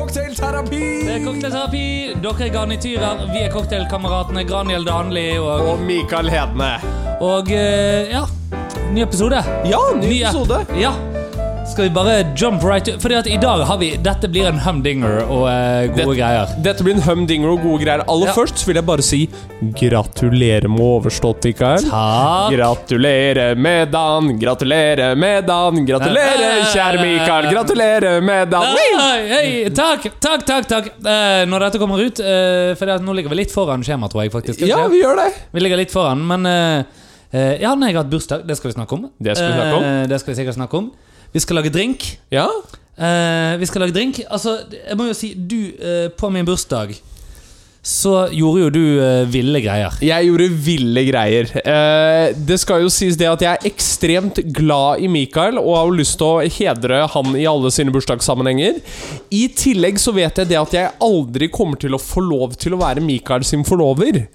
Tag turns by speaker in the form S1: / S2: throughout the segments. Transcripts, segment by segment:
S1: cocktailterapi!
S2: Det er Eh, cocktailterapi. Dere er garnityrer. Vi er cocktailkameratene Graniel Danli og,
S1: Og Mikael Hedne.
S2: og eh, Ja. Ny episode.
S1: Ja, ny
S2: Ny ep-
S1: episode.
S2: Ja. Skal vi bare jump right to Fordi at i dag har vi Dette blir en humdinger og eh, gode
S1: Det-
S2: greier.
S1: Dette blir en humdinger og gode greier. Aller
S2: Ja.
S1: først vil jeg bare si gratulerer med overstått, Mikael.
S2: Takk.
S1: Gratulerer med dagen, gratulerer med dagen, gratulerer,
S2: Eh.
S1: kjære Mikael, gratulerer med dagen!
S2: Hei, hei, takk, takk, takk. takk. Eh, når dette kommer ut uh, For nå ligger vi litt foran skjema, tror jeg. faktisk Skal vi
S1: Ja,
S2: se?
S1: vi gjør det.
S2: Vi ligger litt foran, men eh, eh, Ja, nei, jeg har hatt bursdag. Det skal vi snakke om.
S1: Det skal vi snakke om.
S2: Eh, det skal vi sikkert snakke om. Vi skal lage drink.
S1: Ja,
S2: Eh, vi skal lage drink. Altså, jeg må jo si, du, eh, på min bursdag så gjorde jo du eh, ville greier.
S1: Jeg gjorde ville greier. Eh, det skal jo sies det at jeg er ekstremt glad i Mikael og har jo lyst til å hedre han i alle sine bursdagssammenhenger. I tillegg så vet jeg det at jeg aldri kommer til å få lov til å være Mikael sin forlover.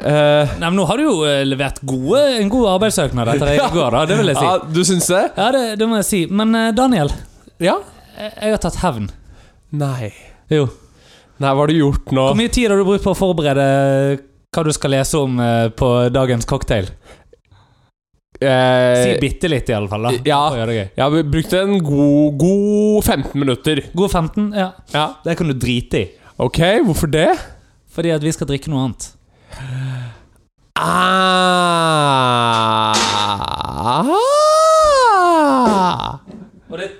S1: Eh,
S2: Nei, men nå har du jo eh, levert gode, en god arbeidssøknad etter i går, da. Det vil jeg si.
S1: ja, du syns det?
S2: Ja, det, det må jeg si. Men eh, Daniel,
S1: Ja?
S2: jeg, jeg har tatt hevn.
S1: Nei.
S2: Jo.
S1: Nei, hva har du gjort nå?
S2: Hvor mye tid har du brukt på å forberede eh, hva du skal lese om eh, på dagens cocktail? Si
S1: Eh,
S2: bitte litt, i alle fall, da.
S1: Ja.
S2: For å gjøre det gøy.
S1: jeg har brukt en god, god 15 minutter.
S2: God 15, ja.
S1: Ja.
S2: Det kan du drite i.
S1: Ok, hvorfor det?
S2: Fordi at vi skal drikke noe annet.
S1: Ah.
S2: Og det,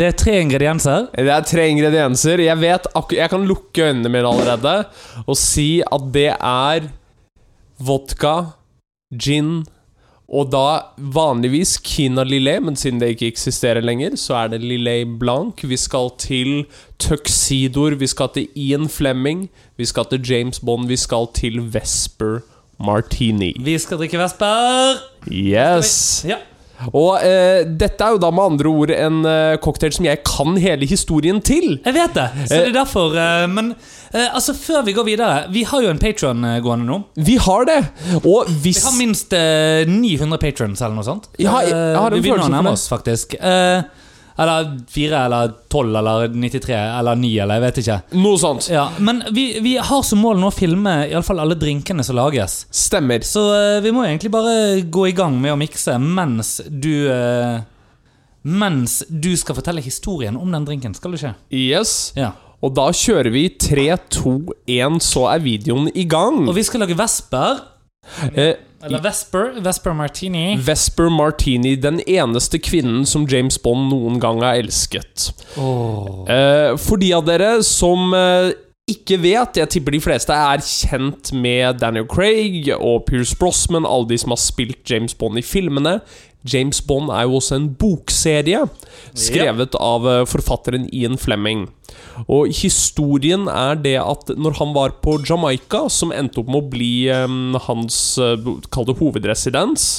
S2: det er tre ingredienser.
S1: Det er tre ingredienser. Jeg vet akku- Jeg kan lukke øynene mine allerede og si at det er vodka, gin og da vanligvis Kina Lillet, men siden det ikke eksisterer lenger, så er det Lillet Blanc. Vi skal til Tuxedoer, vi skal til Ian Fleming, vi skal til James Bond, vi skal til Vesper Martini.
S2: Vi skal drikke vesper.
S1: Yes!
S2: Ja.
S1: Og eh, dette er jo da med andre ord en eh, cocktail som jeg kan hele historien til.
S2: Jeg vet det, så det er derfor. eh, Men eh, altså, før vi går videre Vi har jo en patron gående nå.
S1: Vi har det! Og hvis
S2: Vi har minst eh, 900 patrons eller noe sånt.
S1: Jeg har- jeg har en
S2: Eh, vi begynner å
S1: følelse for det.
S2: nærme oss, faktisk. Eh, eller 4 eller 12 eller 93 eller 9 eller jeg vet ikke.
S1: Noe sånt.
S2: Ja, men vi, vi har som mål nå å filme i alle fall alle drinkene som lages.
S1: Stemmer.
S2: Så eh, vi må egentlig bare gå i gang med å mikse mens du eh, Mens du skal fortelle historien om den drinken, skal du ikke?
S1: Yes.
S2: Ja.
S1: Og da kjører vi 3, 2, 1, så er videoen i gang.
S2: Og vi skal lage vesper.
S1: Eh,
S2: Eller vesper. Vesper martini.
S1: Vesper Martini, den eneste kvinnen som James Bond noen gang har elsket. Eh, for de av dere som eh, ikke vet, jeg tipper de fleste er kjent med Daniel Craig og Pierce Brosman, alle de som har spilt James Bond i filmene. James Bond er jo også en bokserie, skrevet av eh, forfatteren Ian Fleming. Og historien er det at når han var på Jamaica, som endte opp med å bli eh, hans eh, Kall det hovedresidens,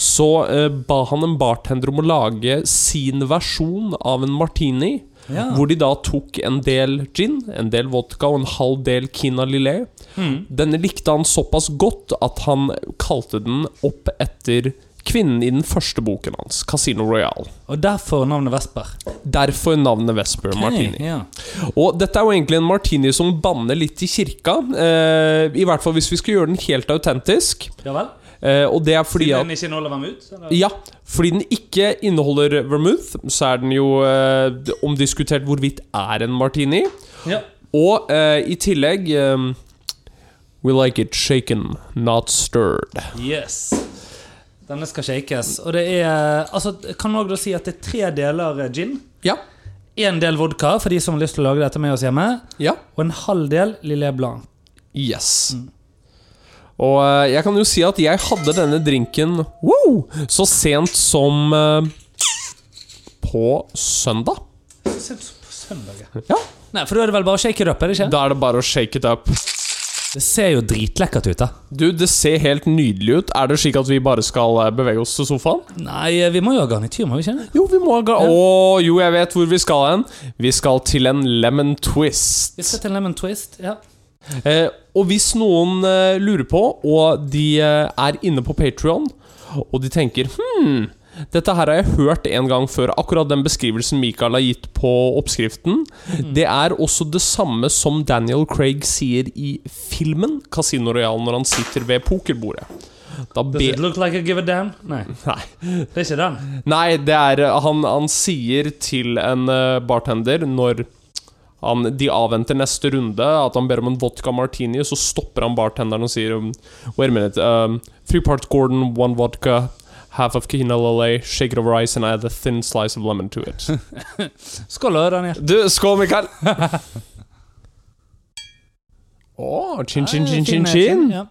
S1: så eh, ba han en bartender om å lage sin versjon av en martini.
S2: Ja.
S1: Hvor de da tok en del gin, en del vodka og en halv del Kina Lillet. Denne likte han såpass godt at han kalte den opp etter kvinnen i den første boken hans, Casino Royale.
S2: Og derfor navnet vesper.
S1: Derfor navnet Vesper Martini.
S2: Ja.
S1: Og dette er jo egentlig en martini som banner litt i kirka. Eh, I hvert fall hvis vi skal gjøre den helt autentisk.
S2: ja vel?
S1: Eh, og det er fordi at
S2: Siden den ikke inneholder vermut? eller?
S1: Ja, fordi den ikke inneholder vermouth, så er den jo eh, omdiskutert hvorvidt er en martini.
S2: Ja.
S1: Og eh, i tillegg eh, We like it shaken, not stirred.
S2: Yes. Denne skal shakes. Og det er Altså, kan man også da si at det er tre deler eh, gin.
S1: Ja.
S2: Én del vodka for de som har lyst til å lage dette med oss hjemme.
S1: Ja.
S2: Og en halv del Lille Blanc.
S1: Yes. Og eh, jeg kan jo si at jeg hadde denne drinken wow, så sent som eh, på søndag. Ja.
S2: Nei, for da er det vel bare å shake it up, er det ikke?
S1: Da er det bare å shake it up.
S2: Det ser jo dritlekkert ut, da.
S1: Du, det ser helt nydelig ut. Er det slik at vi bare skal eh, bevege oss til sofaen?
S2: Nei, vi må jo ha garnityr, må vi ikke?
S1: Jo, vi må ha ga- Å, jo, jeg vet hvor vi skal hen. Vi skal til en lemon twist.
S2: Vi skal til en lemon twist. Ja.
S1: Eh, og hvis noen eh, lurer på, og de eh, er inne på Patrion, og de tenker Hm, Dette her har jeg hørt en gang før. Akkurat den beskrivelsen Michael har gitt på oppskriften.
S2: Mm.
S1: Det er også det samme som Daniel Craig sier i filmen Casino Royale når han sitter ved pokerbordet. Da
S2: Does
S1: be...
S2: it look like I give a damn? Nei,
S1: Nei.
S2: det er ikke den.
S1: Nei, det er eh, han, han sier til en eh, bartender når han, de avventer neste runde, at han ber om en vodka martini, så stopper han bartenderen og sier um, Wait a minute. Um, three part Gordon, one vodka, half of quinoa lay, shake it over ice and add a thin slice of lemon to it.
S2: Skål, da, Daniel.
S1: Du, skål, Mikael! Å, chin,
S2: Ah,
S1: chin, chin, chin, chin.
S2: Ja.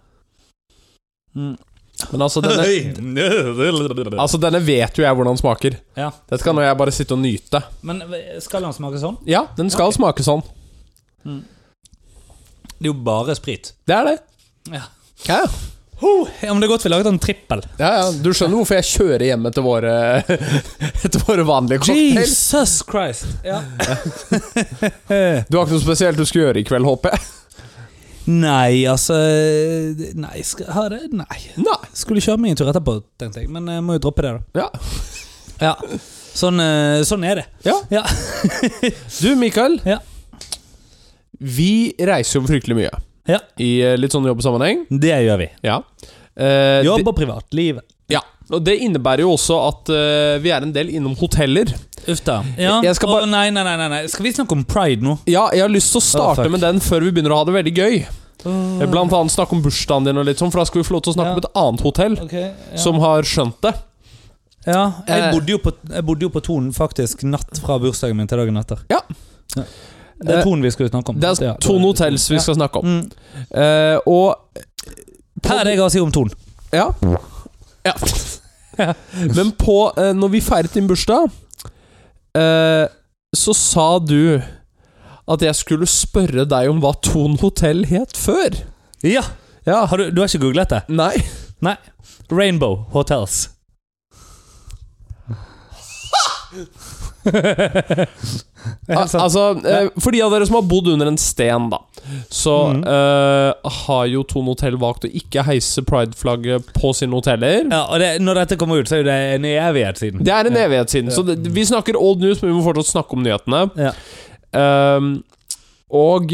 S2: Mm.
S1: Men altså, denne, altså, denne vet jo jeg hvordan smaker.
S2: ja.
S1: Dette kan jo jeg bare sitte og nyte.
S2: Men skal han smake sånn?
S1: Ja, den skal smake sånn.
S2: Det er jo bare sprit.
S1: Det er det.
S2: Ja.
S1: Ja,
S2: Ho, ja, men det er godt vi laget en trippel.
S1: ja, ja. Du skjønner hvorfor jeg kjører hjem etter våre, etter våre vanlige cocktails.
S2: Jesus Christ! Ja.
S1: Du har ikke noe spesielt du skal gjøre i kveld, håper jeg?
S2: nei, altså Nei, skal ha det? Nei.
S1: Nei.
S2: Skulle kjøre meg en tur etterpå, tenkte jeg, men jeg må jo droppe det, da.
S1: Ja.
S2: Ja. Sånn, eh, sånn er det.
S1: Ja.
S2: Ja.
S1: Du, Mikael.
S2: Ja.
S1: Vi reiser jo fryktelig mye.
S2: Ja.
S1: I eh, litt sånn jobbsammenheng.
S2: Det gjør vi.
S1: Ja. Eh,
S2: Jobb og privatliv.
S1: Det, ja. Og det innebærer jo også at eh, vi er en del innom hoteller.
S2: Uff da. Ja.
S1: Jeg skal
S2: Å,
S1: bare-
S2: nei, nei, nei, nei, nei. Skal vi snakke om pride nå?
S1: Ja, jeg har lyst til å starte
S2: fuck.
S1: med den før vi begynner å ha det veldig gøy. Eh, Blant annet snakke om bursdagen din og litt sånn, for da skal vi få lov til å
S2: Ja.
S1: snakke om et annet hotell
S2: Ok, ja.
S1: som har skjønt det.
S2: ja. Jeg
S1: Eh.
S2: bodde jo på, jeg bodde jo på Ton faktisk natt fra bursdagen min til dagen etter.
S1: Ja.
S2: Ja. Det
S1: Eh,
S2: er Ton vi skulle snakke om.
S1: Det er
S2: Ja,
S1: Ton Hotels vi
S2: Ja.
S1: skal snakke om.
S2: Mm.
S1: Eh, og
S2: Her er det jeg har å si om Ton.
S1: ja. ja. Men på eh, Når vi feiret din bursdag, eh, så sa du at jeg skulle spørre deg om hva Ton hotell het før.
S2: Ja.
S1: Ja.
S2: Har du, du har ikke googlet det?
S1: Nei.
S2: Nei. Rainbow Hotels.
S1: Al altså, eh, for de av dere som har bodd under en sten, da, så
S2: Mhm.
S1: eh, har jo Ton hotell valgt å ikke heise prideflagget på sine hoteller.
S2: Ja, og det, når dette kommer ut, så er jo det en evighet siden.
S1: Det er en evighet siden. Så det, vi snakker old news, men vi må fortsatt snakke om nyhetene.
S2: Ja.
S1: Ehm, og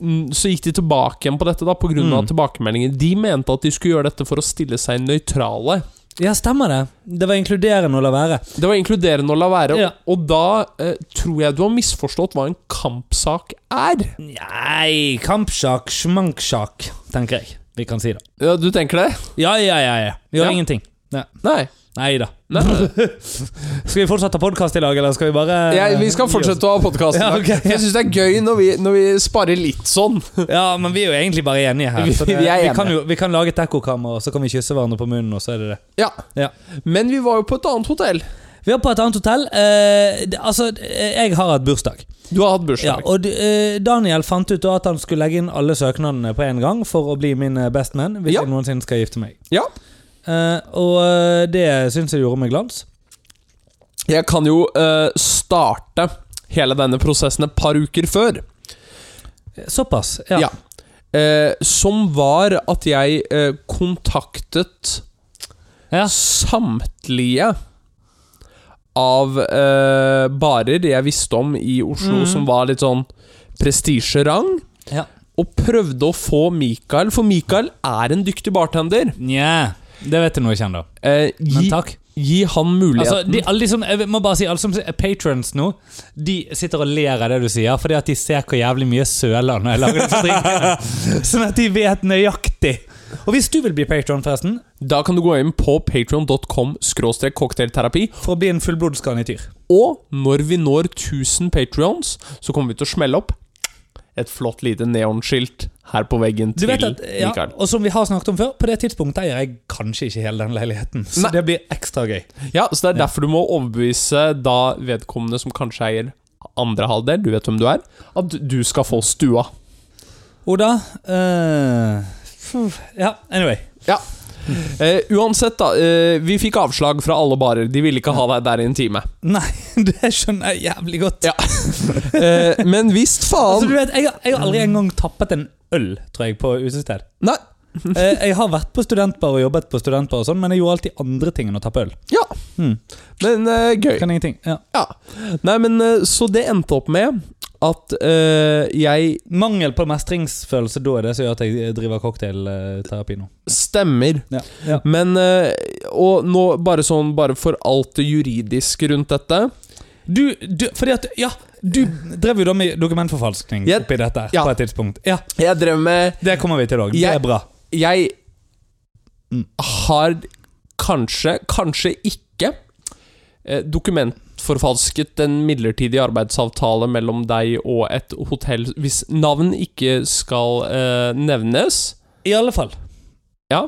S1: n- så gikk de tilbake igjen på dette da pga. av
S2: Mm.
S1: tilbakemeldinger. De mente at de skulle gjøre dette for å stille seg nøytrale.
S2: Ja, stemmer det. Det var inkluderende å la være.
S1: Det var inkluderende å la være.
S2: Ja.
S1: Og da eh, tror jeg du har misforstått hva en kampsak er.
S2: Nei, kampsjakk, schmanksjakk, tenker jeg. Vi kan si det.
S1: Ja, du tenker det?
S2: Ja, ja, ja. ja. Gjør
S1: Ja.
S2: ingenting.
S1: Nei.
S2: Nei da.
S1: Nei.
S2: Skal vi fortsette podkast i dag, eller skal vi bare
S1: Jeg, vi skal fortsette å ha podkast.
S2: Ja, ok, ja.
S1: Jeg syns det er gøy når vi, når vi sparer litt sånn.
S2: Ja, men vi er jo egentlig bare enige her. Så det,
S1: Vi er
S2: Vi, kan
S1: enige.
S2: jo, vi kan lage et ekkokammer, og så kan vi kysse hverandre på munnen, og så er det det.
S1: Ja.
S2: Ja.
S1: Men vi var jo på et annet hotell.
S2: Vi er på et annet hotell. Eh, det, altså, eh, jeg har hatt bursdag.
S1: Du har hatt
S2: Ja,
S1: bursdag.
S2: og du- eh, Daniel fant ut da at han skulle legge inn alle søknadene på en gang for å bli min eh, best man hvis
S1: Ja.
S2: jeg noensinne skal gifte meg.
S1: Ja.
S2: Eh, og eh, det syns jeg gjorde meg glans.
S1: Jeg kan jo eh, starte hele denne prosessen et par uker før.
S2: Såpass, ja.
S1: Ja. eh, som var at jeg eh, kontaktet
S2: Ja.
S1: samtlige av eh, barer jeg visste om i Oslo,
S2: Mhm.
S1: som var litt sånn prestisjerang.
S2: Ja.
S1: Og prøvde å få Mikael, for Mikael er en dyktig bartender.
S2: Nja, det vet jeg nå ikke ennå.
S1: Eh,
S2: Men
S1: gi,
S2: takk.
S1: gi han
S2: Altså,
S1: muligheten.
S2: de, alle de som, jeg må bare si, alle som er patrons nå, de sitter og ler av det du sier, fordi at de ser hvor jævlig mye søler når jeg lager disse drinkene. sånn at de vet nøyaktig. Og hvis du vil bli patron, forresten,
S1: da kan du gå inn på patreon.com cocktailterapi.
S2: for å bli en fullblods garnityr
S1: Og når vi når 1000 Patreons, så kommer vi til å smelle opp et flott lite neonskilt her på veggen
S2: Du
S1: til
S2: vet at, ja,
S1: Mikael.
S2: Og som vi har snakket om før, på det tidspunktet eier jeg kanskje ikke hele den leiligheten. Så
S1: Nei.
S2: det blir ekstra gøy.
S1: Ja, så det er derfor du må overbevise da vedkommende som kanskje eier andre halvdel, du vet hvem du er, at du skal få stua.
S2: Oda eh, pff, Ja, anyway.
S1: Eh, uansett, da. Eh, vi fikk avslag fra alle barer. De ville ikke ha deg der i en time.
S2: Nei, det skjønner jeg jævlig godt.
S1: Ja. Eh, men visst
S2: Altså, du
S1: faen
S2: vet, jeg, har- jeg har aldri engang tappet en øl, tror jeg, på utested.
S1: Nei.
S2: Eh, Jeg har vært på studentbar og jobbet på studentbar, og sånn, men jeg gjorde alltid andre ting enn å tappe øl.
S1: Ja.
S2: Mm.
S1: Men eh, gøy.
S2: Kan ingenting. Ja.
S1: Ja. Nei, men eh, så det endte opp med at eh, jeg
S2: Mangel på mestringsfølelse da er det som gjør at jeg eh, driver cocktailterapi nå.
S1: stemmer.
S2: Ja. Ja.
S1: Men eh, Og nå, bare sånn bare for alt det juridiske rundt dette
S2: Du, du, fordi at, ja, du drev jo da med dokumentforfalskning
S1: Ja.
S2: oppi dette her
S1: Ja.
S2: på et tidspunkt. Ja,
S1: Jeg drev med
S2: Det kommer vi til i dag. Det
S1: Jeg-
S2: er bra.
S1: Jeg
S2: Mm.
S1: har kanskje, kanskje ikke eh, dokumentforfalsket en midlertidig arbeidsavtale mellom deg og et hotell hvis navn ikke skal eh, nevnes.
S2: I alle fall.
S1: Ja.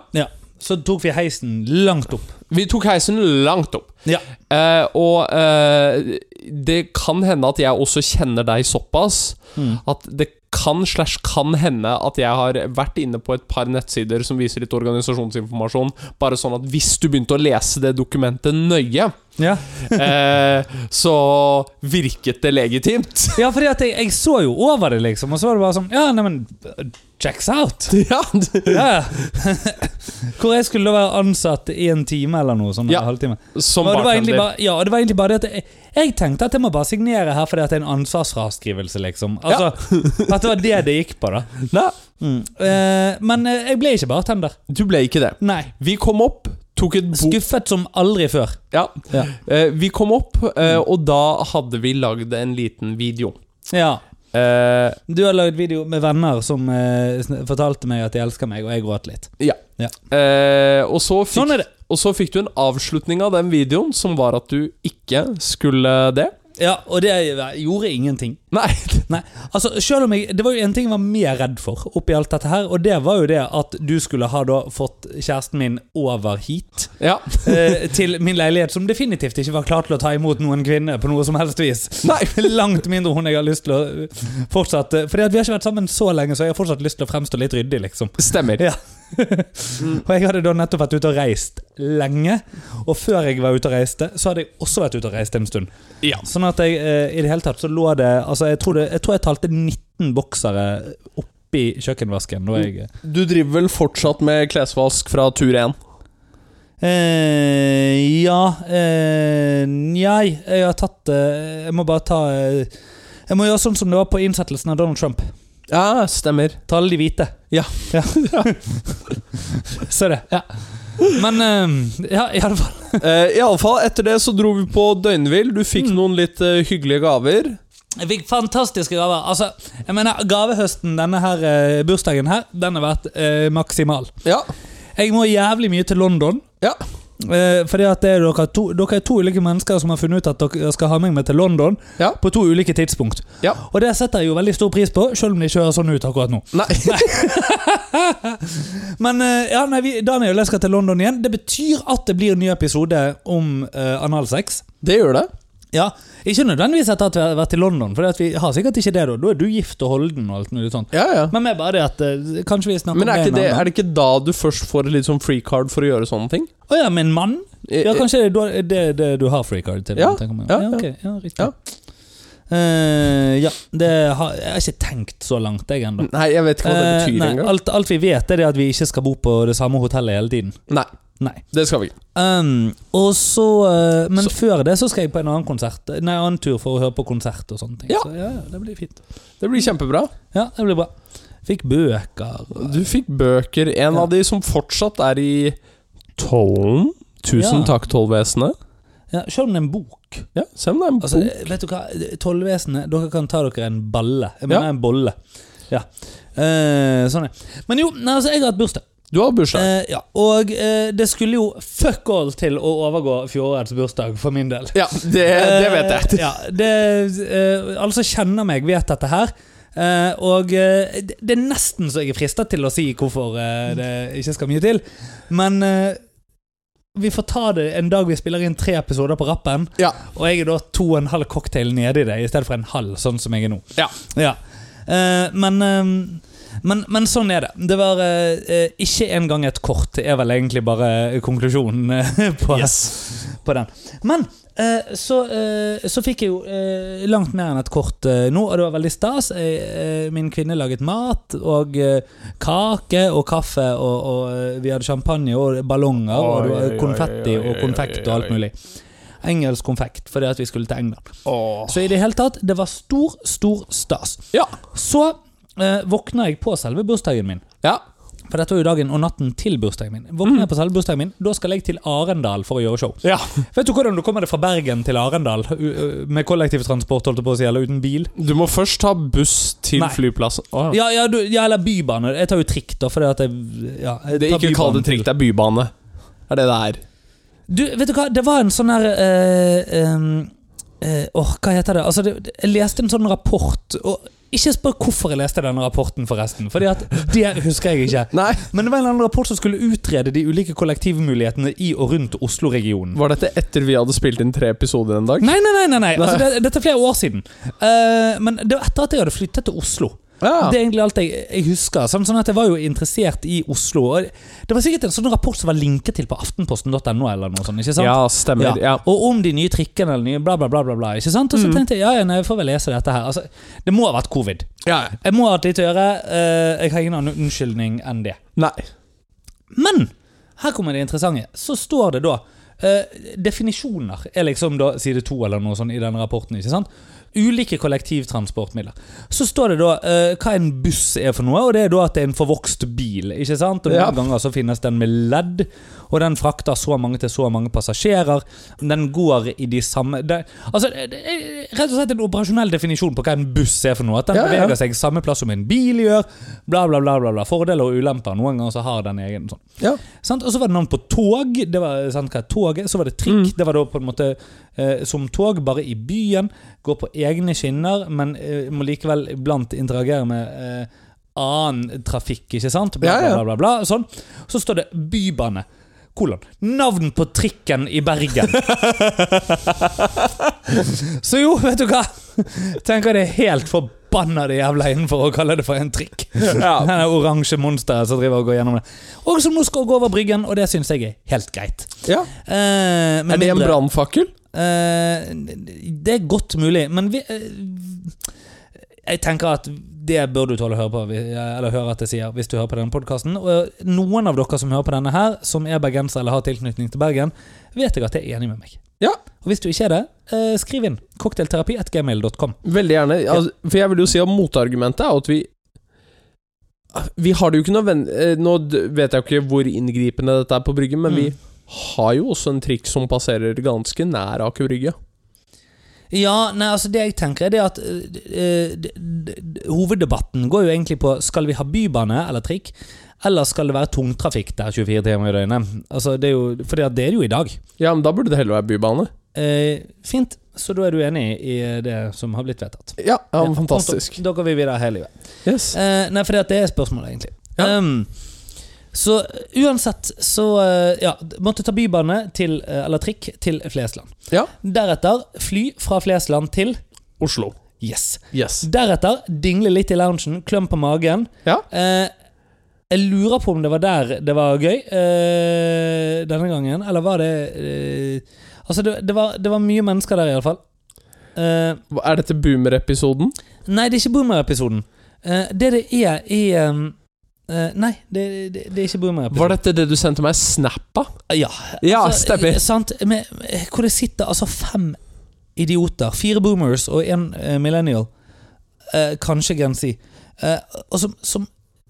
S2: Så tok vi heisen langt opp.
S1: Vi tok heisen langt opp.
S2: Ja.
S1: Eh, og eh, det kan hende at jeg også kjenner deg såpass at det kan slash kan hende at jeg har vært inne på et par nettsider som viser litt organisasjonsinformasjon, bare sånn at hvis du begynte å lese det dokumentet nøye,
S2: Ja,
S1: eh, så virket det legitimt.
S2: ja fordi at jeg, jeg så jo over det, liksom, og så var det bare sånn Ja, neimen, checks out.
S1: ja.
S2: Ja. Hvor jeg skulle da være ansatt i en time eller noe sånn.
S1: Ja.
S2: en halvtime.
S1: Som
S2: Og det, var egentlig
S1: bartender.
S2: bare, ja, og det var egentlig bare det at jeg, jeg tenkte at jeg må bare signere her fordi at det er en ansvarsfraskrivelse, liksom. Altså, at det var det det gikk på, da.
S1: Nei,
S2: Eh, men eh, jeg ble ikke bartender.
S1: du ble ikke det.
S2: Nei.
S1: Vi kom opp, tok et bord
S2: Skuffet som aldri før.
S1: ja.
S2: Ja.
S1: Eh, Vi kom opp, eh, og da hadde vi lagd en liten video.
S2: ja.
S1: Eh,
S2: Du har lagd video med venner som eh, sn- fortalte meg at de elsker meg, og jeg gråt litt.
S1: Eh, og, så fikk,
S2: Sånn er det.
S1: og så fikk du en avslutning av den videoen som var at du ikke skulle det.
S2: Ja, og det gjorde ingenting.
S1: Nei.
S2: Nei, altså selv om jeg, Det var jo en ting jeg var mer redd for, oppi alt dette her, og det var jo det at du skulle ha da fått kjæresten min over hit.
S1: Ja.
S2: eh, til min leilighet, som definitivt ikke var klar til å ta imot noen kvinne på noe som helst vis.
S1: Nei.
S2: Langt mindre hun jeg har lyst til å eh, fortsatt eh, Fordi at vi har ikke vært sammen så lenge, så jeg har fortsatt lyst til å fremstå litt ryddig, liksom.
S1: Stemmer.
S2: Ja. og jeg hadde da nettopp vært ute og reist lenge, og før jeg var ute og reiste, så hadde jeg også vært ute og reist en stund.
S1: Ja.
S2: Sånn at jeg eh, i det hele tatt så lå det Altså, jeg tror, det, jeg, tror jeg talte 19 boksere oppi kjøkkenvasken da jeg
S1: Du driver vel fortsatt med klesvask fra tur én?
S2: Eh, ja eh, Njei, jeg har tatt eh, Jeg må bare ta eh, Jeg må gjøre sånn som det var på innsettelsen av Donald Trump.
S1: Ja, stemmer.
S2: Ta alle de hvite.
S1: Ja.
S2: Se det. Ja. Men eh, Ja, i alle fall.
S1: Eh, Iallfall, etter det så dro vi på døgnhvil. Du fikk
S2: Mm.
S1: noen litt eh, hyggelige gaver.
S2: Jeg fikk fantastiske gaver. Altså, jeg mener, gavehøsten denne her eh, bursdagen her, den har vært eh, maksimal.
S1: Ja.
S2: Jeg må jævlig mye til London.
S1: Ja.
S2: Eh, fordi at det er dere, to, dere er to ulike mennesker som har funnet ut at dere skal ha meg med til London
S1: Ja.
S2: på to ulike tidspunkt.
S1: Ja.
S2: Og det setter jeg jo veldig stor pris på, selv om det ikke høres sånn ut akkurat nå.
S1: Nei.
S2: Men eh, ja, nei, vi, Daniel og jeg skal til London igjen. Det betyr at det blir en ny episode om eh, analsex.
S1: Det gjør det.
S2: Ja, Ikke nødvendigvis etter at vi har vært i London, for vi har sikkert ikke det da. Da er du gift og holden og alt mulig sånn. sånt.
S1: Ja, ja.
S2: Men mer bare det at eh, kanskje vi snakker
S1: Men er,
S2: om
S1: ikke
S2: det
S1: det,
S2: en annen
S1: er det ikke da du først får et litt sånn free card for å gjøre sånne ting?
S2: Å ja, med en mann?
S1: Eh,
S2: Ja,
S1: eh,
S2: kanskje det er da- det, er det du har freecard til?
S1: Ja,
S2: tenker jeg.
S1: ja,
S2: ja, ok, ja, riktig.
S1: ja.
S2: Eh, ja, det har, jeg har ikke tenkt så langt, jeg, ennå.
S1: Nei, jeg vet ikke Mm, hva det
S2: Eh,
S1: betyr
S2: nei,
S1: engang.
S2: alt, alt vi vet, er det at vi ikke skal bo på det samme hotellet hele tiden.
S1: Nei,
S2: Nei.
S1: det skal vi ikke.
S2: Um, og så eh, Men før det så skal jeg på en annen konsert Nei, annen tur for å høre på konsert og sånne ting.
S1: Ja.
S2: Så, ja, ja, det blir fint.
S1: Det blir kjempebra.
S2: Ja, det blir bra. Fikk bøker.
S1: Du fikk bøker, en
S2: Ja.
S1: av de som fortsatt er i tollen. Tusen
S2: Ja.
S1: takk, tollvesenet.
S2: Ja, Selv om det er en bok.
S1: Ja, se om det er en
S2: Altså,
S1: bok.
S2: vet du hva? Tollvesenet, dere kan ta dere en balle. Jeg mener
S1: Ja.
S2: en bolle. Ja. Eh, sånn er Men jo, nei, altså, jeg har hatt bursdag.
S1: Du har bursdag.
S2: Eh, ja. Og eh, det skulle jo fuck all til å overgå fjorårets bursdag, for min del.
S1: Ja, det, det vet jeg.
S2: Eh, ja, det, eh, alle som kjenner meg, vet dette her. Eh, og eh, det det er nesten så jeg er frista til å si hvorfor eh, det ikke skal mye til. Men eh, vi får ta det en dag vi spiller inn tre episoder på rappen.
S1: Ja.
S2: Og jeg er da to og en halv cocktail nede i det, i stedet for en halv, sånn som jeg er nå.
S1: Ja.
S2: Eh, men, eh, men, men sånn er det. Det var eh, eh, ikke engang eh, et kort, er vel egentlig bare konklusjonen eh, på, på den. Men Eh, så, eh, så fikk jeg jo eh, langt mer enn et kort eh, nå, og det var veldig stas. Jeg, eh, min kvinne laget mat, og eh, kake og kaffe, og, og eh, vi hadde champagne og ballonger, og det
S1: Oi, oi,
S2: var
S1: oi,
S2: konfetti
S1: oi, oi,
S2: og konfekt og alt
S1: oi.
S2: mulig. Engelsk konfekt, fordi at vi skulle til England.
S1: Åh.
S2: Så i det hele tatt, det var stor, stor stas.
S1: Ja.
S2: Så eh, våkna jeg på selve bursdagen min.
S1: ja.
S2: For dette var jo dagen og natten til bursdagen min. Våkna jeg på selve bursdagen min, Da skal jeg til Arendal for å gjøre show.
S1: Ja.
S2: Vet du hvordan du kommer deg fra Bergen til Arendal? U ø, med kollektivtransport, holdt jeg på å si, eller uten bil?
S1: Du må først ta buss til
S2: Nei.
S1: flyplassen. Åh, ja.
S2: Ja, ja, du, ja eller bybane. Jeg tar jo trikk, da. Fordi at jeg, ja, jeg
S1: Det
S2: tar
S1: ikke kall
S2: bybanen
S1: det trikk,
S2: til-
S1: det er bybane. Det er det det er.
S2: Du, vet du hva, det var en sånn her eh, em, eh, Åh, hva heter det? Altså, det, jeg leste en sånn rapport, og ikke spør hvorfor jeg leste denne rapporten, forresten. Fordi at det husker jeg ikke.
S1: Nei.
S2: Men det var en eller annen rapport som skulle utrede de ulike kollektivmulighetene i og rundt Oslo-regionen.
S1: Var dette etter vi hadde spilt inn tre episoder en dag?
S2: Nei, nei, nei, nei, nei. Altså, det, dette er flere år siden. Eh, men det var etter at jeg hadde flyttet til Oslo.
S1: Ja.
S2: Det er egentlig alt jeg, jeg husker. Sånn, sånn at Jeg var jo interessert i Oslo. Og det var sikkert en sånn rapport som var linket til på aftenposten.no. eller noe sånt, ikke sant?
S1: ja, stemmer.
S2: Ja.
S1: Ja. Mm.
S2: Og om de nye trikkene eller nye bla, bla, bla. bla, bla ikke sant? Og så tenkte jeg ja, ja, nei, jeg får vel lese dette her. Altså, det må ha vært covid.
S1: ja.
S2: Jeg må ha hatt litt å gjøre. eh, jeg har ingen annen unnskyldning enn det.
S1: Nei.
S2: Men her kommer det interessante. Så står det da eh, Definisjoner er liksom da side to eller noe sånt i denne rapporten. ikke sant? Ulike kollektivtransportmidler. Så står det da eh, hva en buss er for noe, og det er da at det er en forvokst bil. ikke sant? Og Noen
S1: Ja.
S2: ganger så finnes den med ledd, og den frakter så mange til så mange passasjerer. Den går i de samme det, Altså, det er Rett og slett en operasjonell definisjon på hva en buss er for noe. At den
S1: Ja, ja.
S2: beveger seg samme plass som en bil gjør. Bla, bla, bla. bla, bla. Fordeler og ulemper. Noen ganger så har den egen sånn.
S1: Ja.
S2: Sant? Og så var det navn på tog. Det var, sant, hva er toget? Så var det trikk.
S1: Mm.
S2: Det var da på en måte eh, som tog, bare i byen. Går på egne skinner, men eh, må likevel iblant interagere med eh, annen trafikk, ikke sant? Bla,
S1: Ja,
S2: bla,
S1: ja.
S2: bla, bla, bla. Sånn. Så står det bybane. Kolon. Navn på trikken i Bergen. så jo, vet du hva? Tenker det er helt forbanna det jævla innenfor å kalle det for en trikk.
S1: Ja.
S2: Det er oransje monsteret som driver og går gjennom det. Og som nå skal gå over bryggen, og det syns jeg er helt greit.
S1: ja.
S2: Eh, med
S1: Er det en
S2: mindre-
S1: brannfakkel?
S2: Eh, det er godt mulig, men vi eh, Jeg tenker at det bør du tåle å høre på, vi- eller høre at jeg sier, hvis du hører på denne podkasten. Og eh, noen av dere som hører på denne her, som er bergensere eller har tilknytning til Bergen, vet jeg at er enig med meg.
S1: Ja.
S2: Og hvis du ikke er det, eh, skriv inn cocktailterapi.gmail.com.
S1: Veldig gjerne. Altså, for jeg vil jo si at motargumentet er jo at vi Vi har det jo ikke nødvendig eh, Nå d- vet jeg jo ikke hvor inngripende dette er på Brygge, men vi
S2: Mm.
S1: har jo også en trikk som passerer ganske nær Aker Brygge.
S2: Ja, nei, altså det jeg tenker er det at øh, øh, d- d- d- Hoveddebatten går jo egentlig på Skal vi ha bybane eller trikk, eller skal det være tungtrafikk der 24 timer i døgnet? Altså det er jo, For det er det jo i dag.
S1: Ja, men da burde det heller være bybane.
S2: Eh, fint, så da er du enig i det som har blitt vedtatt?
S1: Ja, ja, fantastisk.
S2: Da- Da går vi videre hele livet.
S1: Yes.
S2: Eh, nei, for det er spørsmålet, egentlig.
S1: Ja.
S2: Um, så uansett så eh, Ja, måtte ta bybane til, eh, eller trikk til Flesland.
S1: Ja.
S2: Deretter fly fra Flesland til
S1: Oslo.
S2: Yes.
S1: Yes.
S2: Deretter dingle litt i loungen, kløm på magen.
S1: Ja.
S2: Eh, jeg lurer på om det var der det var gøy eh, denne gangen, eller var det eh, Altså, det, det, var, det var mye mennesker der, iallfall. Eh,
S1: Hva- Er dette boomer-episoden?
S2: nei, det er ikke Boomer-episoden. Eh, det det er, er eh, eh, Nei, det, det, det er ikke
S1: Var
S2: Boomer-episoden.
S1: dette det du sendte meg snap av?
S2: Ja,
S1: Ja,
S2: altså, eh, Sant, men, eh, hvor det sitter altså fem idioter, fire boomers og en eh, millennial, eh, kanskje Gen Z, eh, og som, som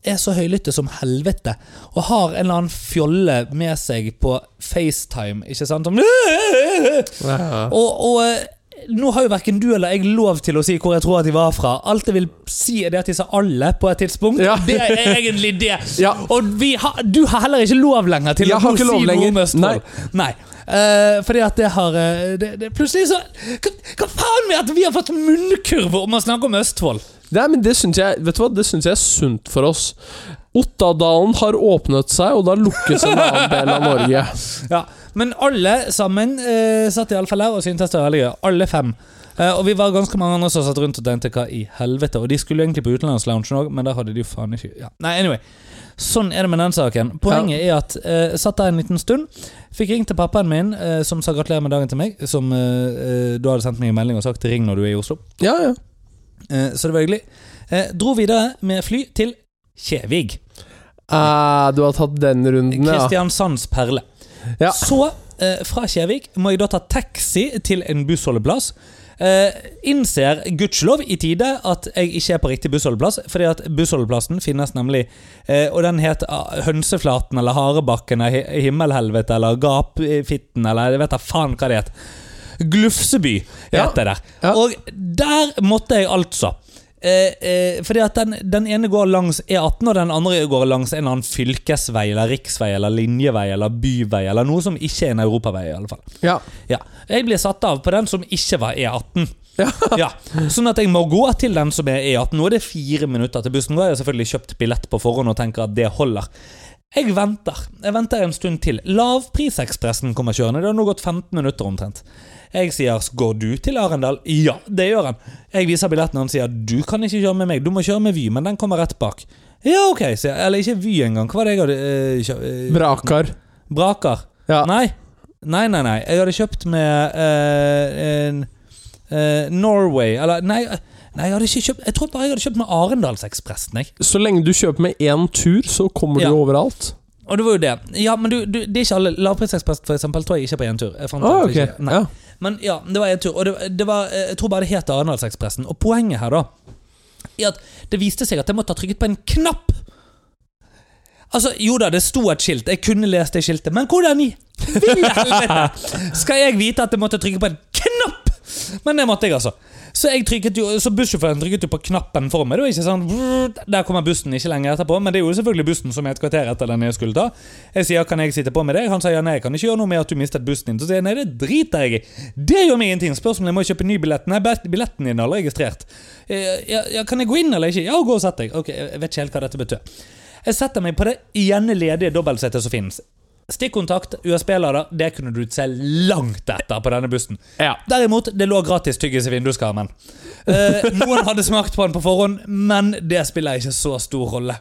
S2: er så høylytte som helvete, og har en eller annen fjolle med seg på FaceTime, ikke sant? Som,
S1: Ja.
S2: og, og eh, nå har jo hverken du eller jeg lov til å si hvor jeg tror at de var fra. Alt jeg vil si, er det at de sa 'alle' på et tidspunkt.
S1: Ja.
S2: Det er egentlig det.
S1: Ja.
S2: Og vi har, du har heller ikke lov lenger til
S1: Jeg
S2: å
S1: har
S2: nå
S1: ikke lov
S2: si
S1: lenger.
S2: Boomer Østfold.
S1: Nei.
S2: Nei. Eh, fordi at det har eh, det, det, Plutselig så hva, hva faen med at vi har fått munnkurve om å snakke om Østfold?
S1: Nei, men det syns jeg Vet du hva, det syns jeg er sunt for oss. Ottadalen har åpnet seg, og da lukkes en annen del av Norge.
S2: Ja, Men alle sammen eh, satt iallfall her og syntes det var veldig gøy. Alle fem. Eh, og vi var ganske mange andre som satt rundt og tenkte hva i helvete. Og de skulle egentlig på utenlandsloungen òg, men der hadde de jo faen ikke ja. Nei, anyway. Sånn er det med den saken. Poenget er at eh, jeg satt der en liten stund, fikk ringt til pappaen min, eh, som sa gratulerer med dagen til meg, som eh, eh, da hadde sendt meg en melding og sagt 'ring når du er i Oslo'.
S1: Ja, ja.
S2: Eh, så det var hyggelig. Eh, dro videre med fly til Kjevig.
S1: Eh, du har tatt den runden, ja.
S2: Kristiansands perle.
S1: ja.
S2: Så, eh, fra Kjevik, må jeg da ta taxi til en bussholdeplass. Eh, innser gudskjelov i tide at jeg ikke er på riktig bussholdeplass, fordi at bussholdeplassen finnes nemlig eh, Og den het ah, Hønseflaten eller Harebakken eller Hi- Himmelhelvete eller Gapfitten eller jeg vet da faen hva det het. Glufseby
S1: Ja.
S2: het det der.
S1: Ja.
S2: Og der måtte jeg altså. Eh, eh, fordi at den, den ene går langs E18, og den andre går langs en eller annen fylkesvei eller riksvei eller linjevei eller byvei eller noe som ikke er en europavei. i alle fall
S1: ja.
S2: ja. Jeg ble satt av på den som ikke var E18.
S1: Ja.
S2: Ja. Sånn at jeg må gå til den som er E18. Nå er det fire minutter til bussen går. Jeg har selvfølgelig kjøpt billett på forhånd og tenker at det holder. Jeg venter Jeg venter en stund til. Lavprisekspressen kommer kjørende. Det har nå gått 15 minutter omtrent. Jeg sier 'Går du til Arendal?' Ja, det gjør han. Jeg viser billetten, og han sier 'Du kan ikke kjøre med meg, du må kjøre med Vy', men den kommer rett bak. Ja, ok, sier jeg. Eller ikke Vy engang. Hva var det jeg hadde eh, kjø- eh,
S1: Brakar.
S2: Braker.
S1: Ja.
S2: Nei. nei, nei, nei. Jeg hadde kjøpt med eh, en, eh, Norway Eller nei, eh, nei, jeg hadde ikke kjøpt Jeg tror bare jeg hadde kjøpt med Arendalsekspressen. jeg.
S1: Så lenge du kjøper med én tur, så kommer
S2: Ja.
S1: du overalt.
S2: Og det var jo det. Ja, men du, du, det er ikke alle. Lavprisekspress for eksempel, tror jeg ikke er på én tur. Jeg fant
S1: Ah,
S2: ut at
S1: ok.
S2: det ikke- Nei.
S1: Ja.
S2: Men ja, det var en tur. Og det, det var, eh, jeg tror bare det het Arendalsekspressen. Og poenget her, da, er at det viste seg at jeg måtte ha trykket på en knapp. Altså, Jo da, det sto et skilt. Jeg kunne lest det skiltet. Men hvordan i ville helvete skal jeg vite at jeg måtte trykke på en knapp?! Men det måtte jeg, altså. Så jeg trykket jo, så bussjåføren trykket jo på knappen for meg. Det var ikke sånn, Der kommer bussen ikke lenger etterpå, men det er jo selvfølgelig bussen som er et kvarter etter den jeg skulle ta. Jeg sier 'kan jeg sitte på med deg?' Han sier ja, 'nei, jeg kan ikke gjøre noe med at du mistet bussen din'. Så sier jeg 'nei, det driter jeg i'. Det gjør meg ingenting. Spørsmålet er om jeg må kjøpe ny billett. Nei, bet- billetten din er allerede registrert. Eh, Ja, ja, kan jeg gå inn eller ikke? Ja, gå og sett deg. Ok, jeg vet ikke helt hva dette betyr. Jeg setter meg på det ene ledige dobbeltsetet som finnes. Stikkontakt, USB-lader, det kunne du se langt etter på denne bussen.
S1: Ja.
S2: Derimot, det lå gratis tyggis i vinduskarmen. Eh, noen hadde smakt på den på forhånd, men det spiller ikke så stor rolle.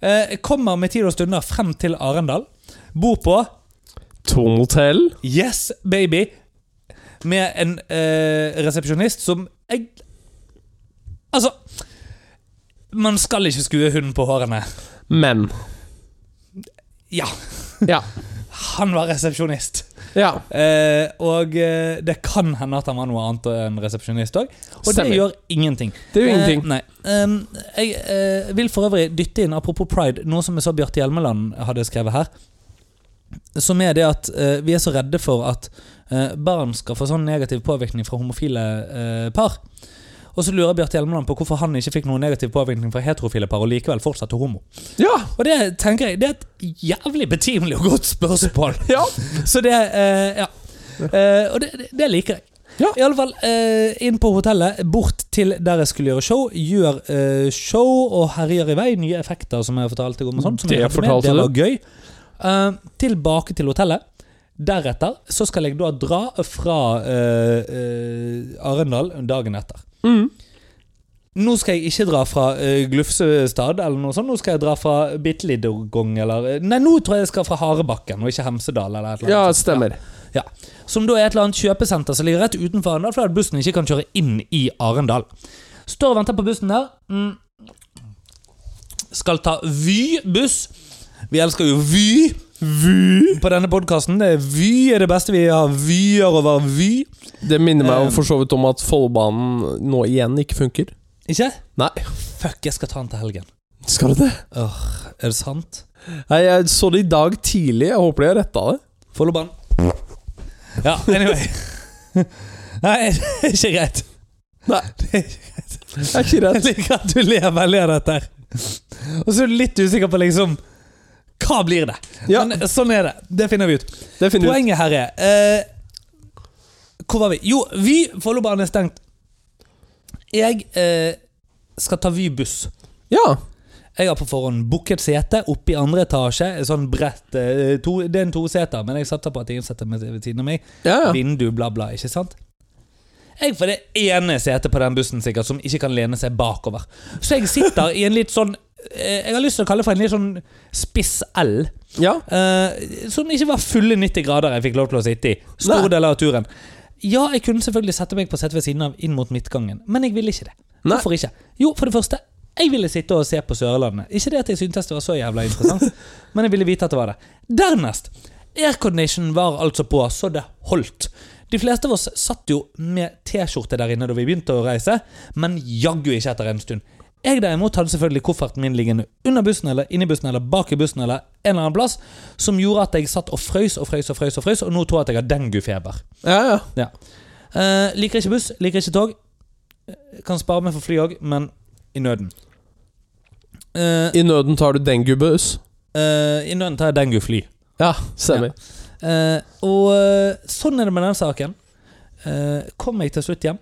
S2: Eh, jeg kommer med tid og stunder frem til Arendal. Bor på
S1: Tom hotell.
S2: Yes Baby med en eh, resepsjonist som jeg Altså Man skal ikke skue hunden på hårene.
S1: Men.
S2: Ja,
S1: Ja.
S2: han var resepsjonist.
S1: ja.
S2: Eh, og eh, det kan hende at han var noe annet enn resepsjonist òg. Og
S1: Stemmer.
S2: det gjør ingenting.
S1: Det gjør ingenting.
S2: Eh, nei. Ehm, jeg eh, vil for øvrig dytte inn, apropos pride, noe som jeg så Bjarte Hjelmeland hadde skrevet her. Som er det at eh, vi er så redde for at eh, barn skal få sånn negativ påvirkning fra homofile eh, par. Og så lurer Bjarte Hjelmeland på hvorfor han ikke fikk noen negativ påvirkning fra heterofile par, og likevel fortsatte homo.
S1: Ja.
S2: Og det tenker jeg, det er et jævlig betimelig og godt spørsmål.
S1: ja.
S2: Så det eh, Ja. Eh, og det, det- det liker jeg.
S1: Ja.
S2: I alle fall, eh, inn på hotellet, bort til der jeg skulle gjøre show. Gjør eh, show og herjer i vei. Nye effekter, som jeg fortalte om. og sånt, som
S1: Det
S2: jeg hadde med.
S1: fortalte
S2: det
S1: du.
S2: var gøy. Eh, tilbake til hotellet. Deretter så skal jeg da dra fra eh, eh, Arendal dagen etter.
S1: Mm.
S2: Nå skal jeg ikke dra fra eh, Glufsestad, eller noe sånt. Nå skal jeg dra fra Bitlidogong, eller eh, Nei, nå tror jeg jeg skal fra Harebakken, og ikke Hemsedal, eller et eller
S1: Ja,
S2: annet.
S1: stemmer.
S2: Ja. Som da er et eller annet kjøpesenter som ligger rett utenfor Arendal, fordi at bussen ikke kan kjøre inn i Arendal. Står og venter på bussen der. Mm. Skal ta Vy-buss. Vi elsker jo Vy
S1: Vy.
S2: på denne podkasten. Vy er det beste vi har. Vyer over Vy.
S1: Det minner meg
S2: Eh.
S1: om for så vidt om at Follobanen nå igjen ikke funker.
S2: Ikke?
S1: Nei.
S2: Fuck, jeg skal ta den til helgen.
S1: Skal du det?
S2: Er det sant?
S1: Nei, jeg så det i dag tidlig. Jeg håper de har retta det.
S2: Follobanen. Ja, anyway. Nei, det er ikke greit.
S1: Nei.
S2: Det er ikke greit.
S1: Jeg er
S2: Jeg
S1: ikke redd.
S2: liker at du ler veldig av dette. her. Og så er du litt usikker på liksom Hva blir det?
S1: Ja,
S2: Men sånn er det. Det finner vi ut.
S1: det finner vi ut.
S2: Poenget her er eh, Hvor var vi? Jo, Vy Follobanen er stengt. Jeg eh, skal ta Vy buss.
S1: Ja.
S2: Jeg har på forhånd booket sete oppe i andre etasje. en Sånn brett eh, to, Det er en toseter, men jeg satser på at ingen setter meg ved siden av meg.
S1: Ja, ja.
S2: Vindu, bla, bla. Ikke sant? Jeg får det ene setet på den bussen sikkert som ikke kan lene seg bakover. Så jeg sitter i en litt sånn eh, jeg har lyst til å kalle det for en litt sånn spiss L.
S1: Ja.
S2: eh, som ikke var fulle 90 grader jeg fikk lov til å sitte i. Stor
S1: Nei.
S2: del av turen. Ja, jeg kunne selvfølgelig sette meg på setet ved siden av inn mot midtgangen, men jeg ville ikke det.
S1: Nei.
S2: Hvorfor ikke? Jo, for det første, jeg ville sitte og se på Sørlandet. Ikke det at jeg syntes det var så jævla interessant, men jeg ville vite at det var det. Dernest, aircondition var altså på så det holdt. De fleste av oss satt jo med T-skjorte der inne da vi begynte å reise, men jaggu ikke etter en stund. Jeg derimot hadde selvfølgelig kofferten min liggende under bussen eller inni bussen eller bak i bussen eller en eller annen plass, som gjorde at jeg satt og frøys og frøys og frøys, og frøys, og nå tror jeg at jeg har denguefeber.
S1: Ja, ja.
S2: Ja. Eh, liker ikke buss, liker ikke tog. Eh, Kan spare meg for fly òg, men i nøden. Eh,
S1: I nøden tar du denguebuss.
S2: eh, I nøden tar jeg dengue-fly.
S1: Ja, stemmer.
S2: Eh, og eh, sånn er det med den saken. Eh, kom jeg til slutt hjem.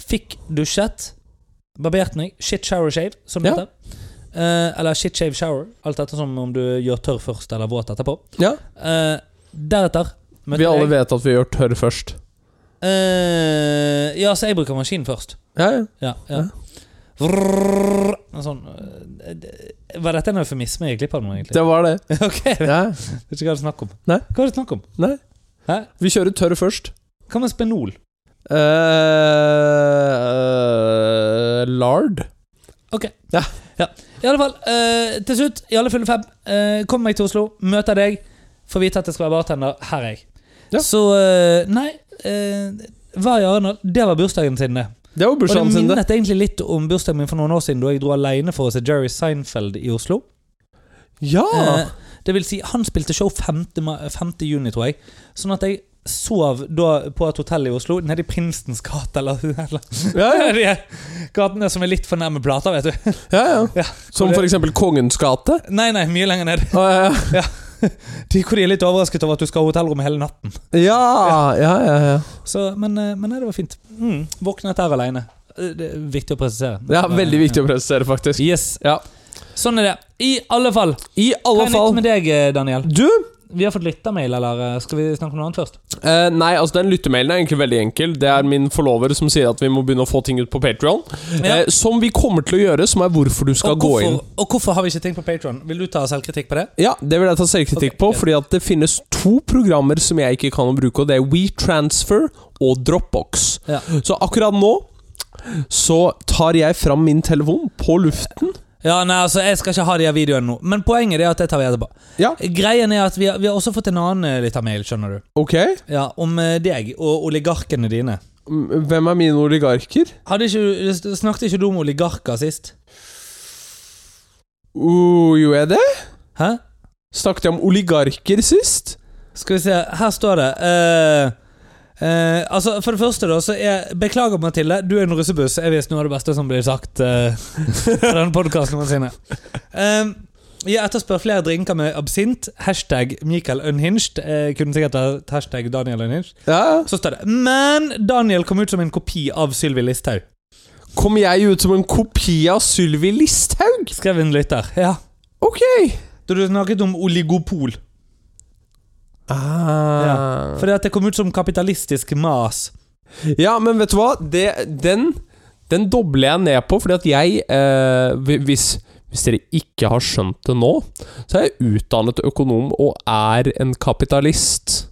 S2: Fikk dusjet. Barbert meg. Shit shower shave, som det
S1: Ja.
S2: heter. Eh, eller shit shave shower. Alt etter som om du gjør tørr først eller våt etterpå.
S1: Ja.
S2: Eh, deretter møtte
S1: Vi alle
S2: jeg
S1: vet at vi gjør tørr først.
S2: Eh, Ja, så jeg bruker maskin først.
S1: Ja, ja.
S2: Ja, ja.
S1: Ja.
S2: Vrrrr, en sånn, eh, det- Var dette en eufemisme jeg klippa nå, egentlig?
S1: Det var det.
S2: Ok, jeg vet
S1: Ja.
S2: ikke hva det er snakk om.
S1: Nei.
S2: Hva er det snakk om?
S1: Nei.
S2: Hæ?
S1: Vi kjører tørr først.
S2: Hva med spenol?
S1: eh eh, lard.
S2: I alle fall, eh, til slutt, i alle fulle fem, eh, kommer jeg til Oslo, møter deg, får vite at jeg skal være bartender. Her er jeg.
S1: Ja.
S2: Så eh, nei eh, Var i Arendal. Det var bursdagen sin, det.
S1: Det var
S2: Og det
S1: bursdagen sin, det.
S2: minnet egentlig litt om bursdagen min for noen år siden, da jeg dro alene for å se Jerry Seinfeld i Oslo.
S1: Ja!
S2: Eh, Det vil si, han spilte show 5. ma- 5. juni, tror jeg. Sånn at jeg sov da på et hotell i Oslo, nede i Prinsens gate, eller,
S1: ja, ja,
S2: eller de gatene som er litt for nærme plata, vet du.
S1: ja,
S2: Ja.
S1: ja. Som for eksempel Kongens gate.
S2: Nei, nei, mye lenger ned.
S1: Å, ja, ja.
S2: De hvor de er litt overrasket over at du skal ha hotellrom hele natten.
S1: Ja, ja, ja, ja.
S2: Så, men, eh, men nei, det var fint. Mm, våknet der alene. Eh, Det er viktig å presisere.
S1: Ja, veldig viktig å presisere, faktisk.
S2: Yes.
S1: Ja.
S2: Sånn er det. I alle fall.
S1: I alle
S2: Hva er nytt
S1: fall
S2: med deg, eh, Daniel?
S1: Du!
S2: Vi har fått lyttermail, eller eh, skal vi snakke om noe annet først?
S1: Eh, nei, altså den lyttemailen er egentlig veldig enkel. Det er min forlover som sier at vi må begynne å få ting ut på Patreon
S2: Ja.
S1: Eh, som vi kommer til å gjøre, som er hvorfor du skal
S2: og,
S1: gå
S2: hvorfor,
S1: inn.
S2: og hvorfor har vi ikke ting på Patron? Vil du ta selvkritikk på det?
S1: Ja, Det vil jeg ta selvkritikk
S2: Ok,
S1: på,
S2: greit.
S1: fordi at det finnes to programmer som jeg ikke kan å bruke, og det er WeTransfer og Dropbox.
S2: Ja.
S1: Så akkurat nå så tar jeg fram min telefon på luften.
S2: Ja, nei, altså, Jeg skal ikke ha de her videoene nå, men poenget er at det tar vi etterpå.
S1: Ja,
S2: Greien er at Vi har, vi har også fått en annen eh, liten mail, skjønner du.
S1: ok.
S2: Ja, Om eh, deg og oligarkene dine.
S1: M- Hvem er mine oligarker?
S2: Hadde ikke, du- snakket ikke du om oligarker sist?
S1: Uh, gjorde jeg det?
S2: Hæ?
S1: Snakket jeg om oligarker sist?
S2: Skal vi se, her står det eh, eh, altså For det første, da, så er Beklager, Mathilde, du er en russebuss. Jeg vet noe av det beste som blir sagt eh, på denne podkasten noensinne. Um, jeg etterspør flere drinker med absint. Hashtag Michael Unhinged. Eh, kunne sikkert vært hashtag Daniel Unhinged.
S1: Ja.
S2: Så står det Men Daniel kom ut som en kopi av Sylvi Listhaug.
S1: Kom jeg ut som en kopi av Sylvi Listhaug?
S2: Skrev en lytter. Ja.
S1: Ok.
S2: Da du snakket om oligopol.
S1: Ah.
S2: Fordi at det kom ut som kapitalistisk mas.
S1: Ja, men vet du hva? Det, den, den dobler jeg ned på, fordi at jeg eh, hvi- hvis, hvis dere ikke har skjønt det nå, så er jeg utdannet økonom og er en kapitalist.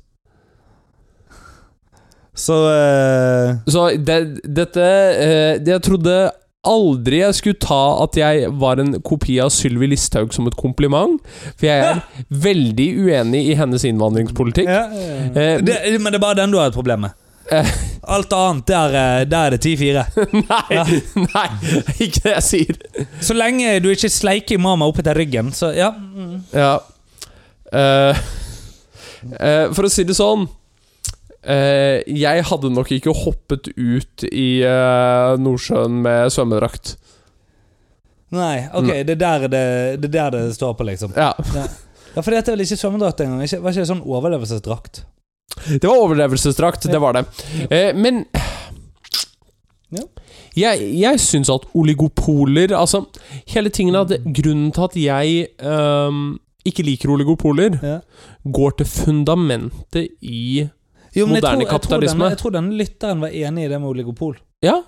S2: Så eh,
S1: Så det, dette eh, det- Jeg trodde aldri jeg skulle ta at jeg var en kopi av Sylvi Listhaug som et kompliment, for jeg er veldig uenig i hennes innvandringspolitikk.
S2: Ja, ja, ja.
S1: Eh,
S2: det, men det er bare den du har et problem med.
S1: Eh.
S2: Alt annet, der, eh, der er det 10-4.
S1: Nei, nei, ikke det jeg sier.
S2: Så lenge du ikke sleiker mama opp etter ryggen, så ja. Mm.
S1: Ja. Eh, eh, for å si det sånn eh, Jeg hadde nok ikke hoppet ut i eh, Nordsjøen med svømmedrakt.
S2: Nei, ok,
S1: Mm.
S2: det er der det, det, er der det står på, liksom.
S1: Ja.
S2: Ja, For dette er vel ikke svømmedrakt engang? Ikke, var ikke det sånn overlevelsesdrakt?
S1: Det var overlevelsesdrakt, det var det. Eh, men
S2: Ja.
S1: jeg, jeg syns at oligopoler Altså, hele tingen at grunnen til at jeg ehm, ikke liker oligopoler,
S2: Ja.
S1: går til fundamentet i
S2: Jo, men jeg
S1: Moderne
S2: tror, jeg tror
S1: kapitalisme.
S2: denne- Jeg tror denne lytteren var enig i det med oligopol.
S1: Ja,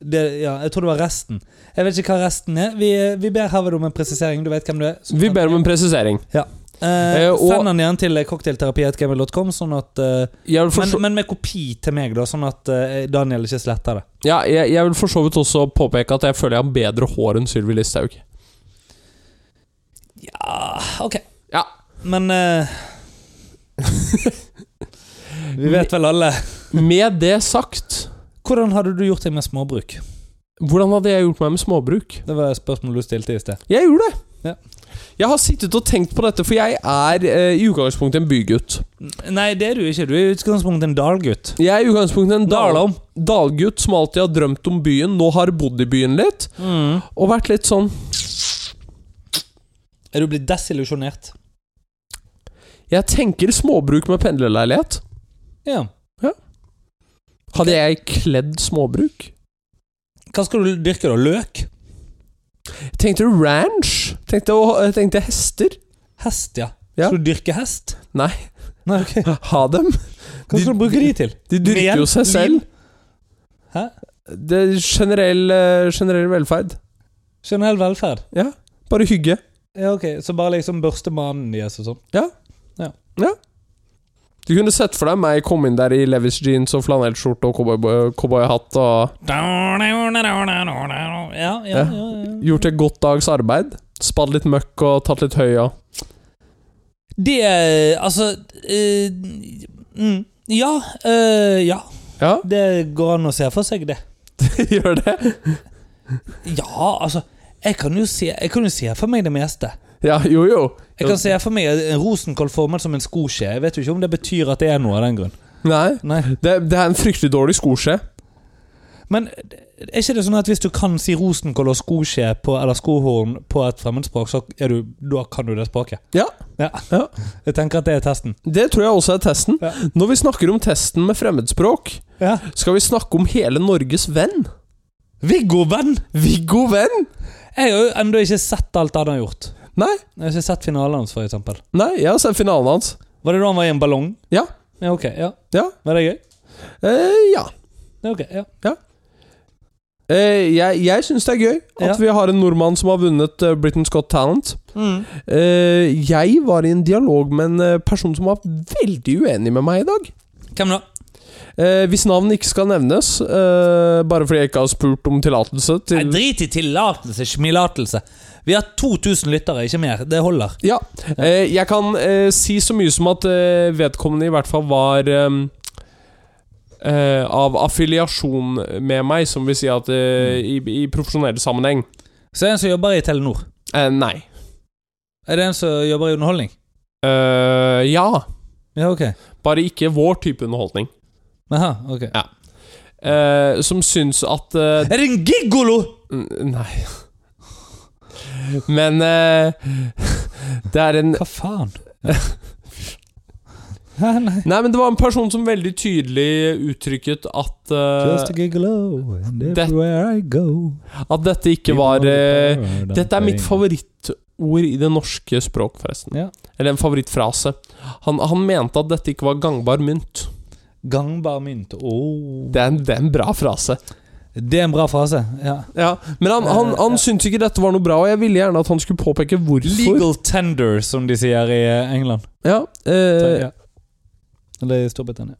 S2: Det, ja, jeg tror det var resten. Jeg vet ikke hva resten er. Vi, eh, vi ber herved om en presisering. Du vet hvem du er. som
S1: Vi
S2: kan-
S1: ber om en presisering.
S2: Eh,
S1: Eh, og-
S2: Send den igjen til cocktailterapi.gmail.com, sånn at eh,
S1: Jeg vil, for
S2: men,
S1: så,
S2: men med kopi til meg, da, sånn at eh, Daniel ikke sletter det.
S1: ja, jeg, jeg vil for så vidt også påpeke at jeg føler jeg har bedre hår enn Sylvi Listhaug.
S2: Ja, ok.
S1: Ja.
S2: Men eh, Vi vet vel alle.
S1: Med det sagt,
S2: Hvordan hadde du gjort det med småbruk?
S1: hvordan hadde jeg gjort meg med småbruk?
S2: Det var et spørsmål du stilte i sted.
S1: Jeg gjorde det.
S2: Ja.
S1: Jeg har sittet og tenkt på dette, for jeg er eh, i utgangspunktet en bygutt.
S2: Nei, det er du ikke. Du er i utgangspunktet en dalgutt.
S1: Jeg er i utgangspunktet en dal
S2: Dalom.
S1: dalgutt som alltid har drømt om byen, nå har bodd i byen litt,
S2: Mm.
S1: og vært litt sånn
S2: Er du blitt desillusjonert?
S1: Jeg tenker småbruk med pendlerleilighet.
S2: Ja.
S1: Hadde jeg kledd småbruk?
S2: Hva skal du dyrke, da? Løk?
S1: Tenkte du ranch? Tenkte, å- eh, tenkte hester?
S2: Hest, ja.
S1: Ja.
S2: Skal du dyrke hest?
S1: Nei,
S2: Nei, ok.
S1: ha dem.
S2: Hva skal du bruke de til?
S1: De dyrker
S2: Mel?
S1: jo seg selv.
S2: Hæ?
S1: Det er generell, eh, generell velferd.
S2: Generell velferd?
S1: Bare hygge.
S2: Ja, ok. Så bare liksom børste mannen deres og sånn?
S1: Du kunne sett for deg meg komme inn der i Levis jeans og flanellskjorte og cowboy- eh, cowboyhatt og
S2: Ja, ja, ja, ja.
S1: gjort et godt dags arbeid. Spadd litt møkk og tatt litt høy og
S2: Det eh, Altså eh, mm, Ja. eh, ja.
S1: Ja,
S2: Det går an å se for seg, det.
S1: gjør det?
S2: Ja, altså Jeg kan jo se, jeg kan jo se for meg det meste.
S1: Ja, jo jo.
S2: Jeg kan se for meg en rosenkål formet som en skoskje. Jeg vet jo ikke om det betyr at det er noe av den grunn.
S1: Nei,
S2: Nei.
S1: det, det er en fryktelig dårlig skoskje.
S2: Men er ikke det sånn at hvis du kan si rosenkål og skoskje på, eller skohorn på et fremmedspråk, så er du, da kan du det språket?
S1: Ja.
S2: ja.
S1: Ja.
S2: Jeg tenker at det er testen.
S1: Det tror jeg også er testen.
S2: Ja.
S1: Når vi snakker om testen med fremmedspråk,
S2: Ja.
S1: skal vi snakke om hele Norges venn.
S2: Viggo, venn!
S1: Viggo Venn!
S2: Jeg har jo ennå ikke sett alt han har gjort.
S1: Nei.
S2: Jeg har ikke sett finalen hans, for eksempel.
S1: Nei, jeg har sett finalen hans.
S2: Var det da han var i en ballong?
S1: Ja.
S2: Ja, ok. Ja.
S1: Ja.
S2: Var det gøy?
S1: Eh, ja.
S2: Ja, ok. Ja.
S1: Eh, jeg jeg syns det er gøy
S2: Ja.
S1: at vi har en nordmann som har vunnet eh, Britain's Got Talent. Eh, jeg var i en dialog med en eh, person som var veldig uenig med meg i dag.
S2: Hvem da?
S1: Eh, hvis navn ikke skal nevnes, eh, bare fordi jeg ikke har spurt om tillatelse
S2: Nei,
S1: til
S2: drit i tillatelse, smilatelse. Vi har 2000 lyttere, ikke mer. Det holder.
S1: Ja. Eh, jeg kan eh, si så mye som at eh, vedkommende i hvert fall var eh, eh, av affiliasjon med meg, som vil si at eh, i, i profesjonell sammenheng
S2: Så er det en som jobber i Telenor.
S1: eh, Nei.
S2: Er det en som jobber i underholdning?
S1: Eh, ja.
S2: Ja, ok.
S1: Bare ikke vår type underholdning.
S2: Aha, ok.
S1: Eh, som syns at eh,
S2: Er det en gigolo?!
S1: n- Nei. Men eh, det er en
S2: Hva faen? Hæ, nei.
S1: Nei, men det var en person som veldig tydelig uttrykket at
S2: Just a
S1: eh,
S2: gigolo, and
S1: det-
S2: everywhere I go.
S1: At dette ikke var eh, Dette er mitt favorittord i det norske språk, forresten.
S2: Ja.
S1: Eller en favorittfrase. Han, han mente at dette ikke var gangbar mynt.
S2: Gangbar mynt. Oh.
S1: Det er en, det er en bra frase.
S2: Det er en bra frase. Ja.
S1: Ja, Men han, han, han syntes ikke dette var noe bra, og jeg ville gjerne at han skulle påpeke hvorfor.
S2: Legal tender, som de sier i eh, England.
S1: Ja, eh,
S2: Ja. Eller i Storbritannia.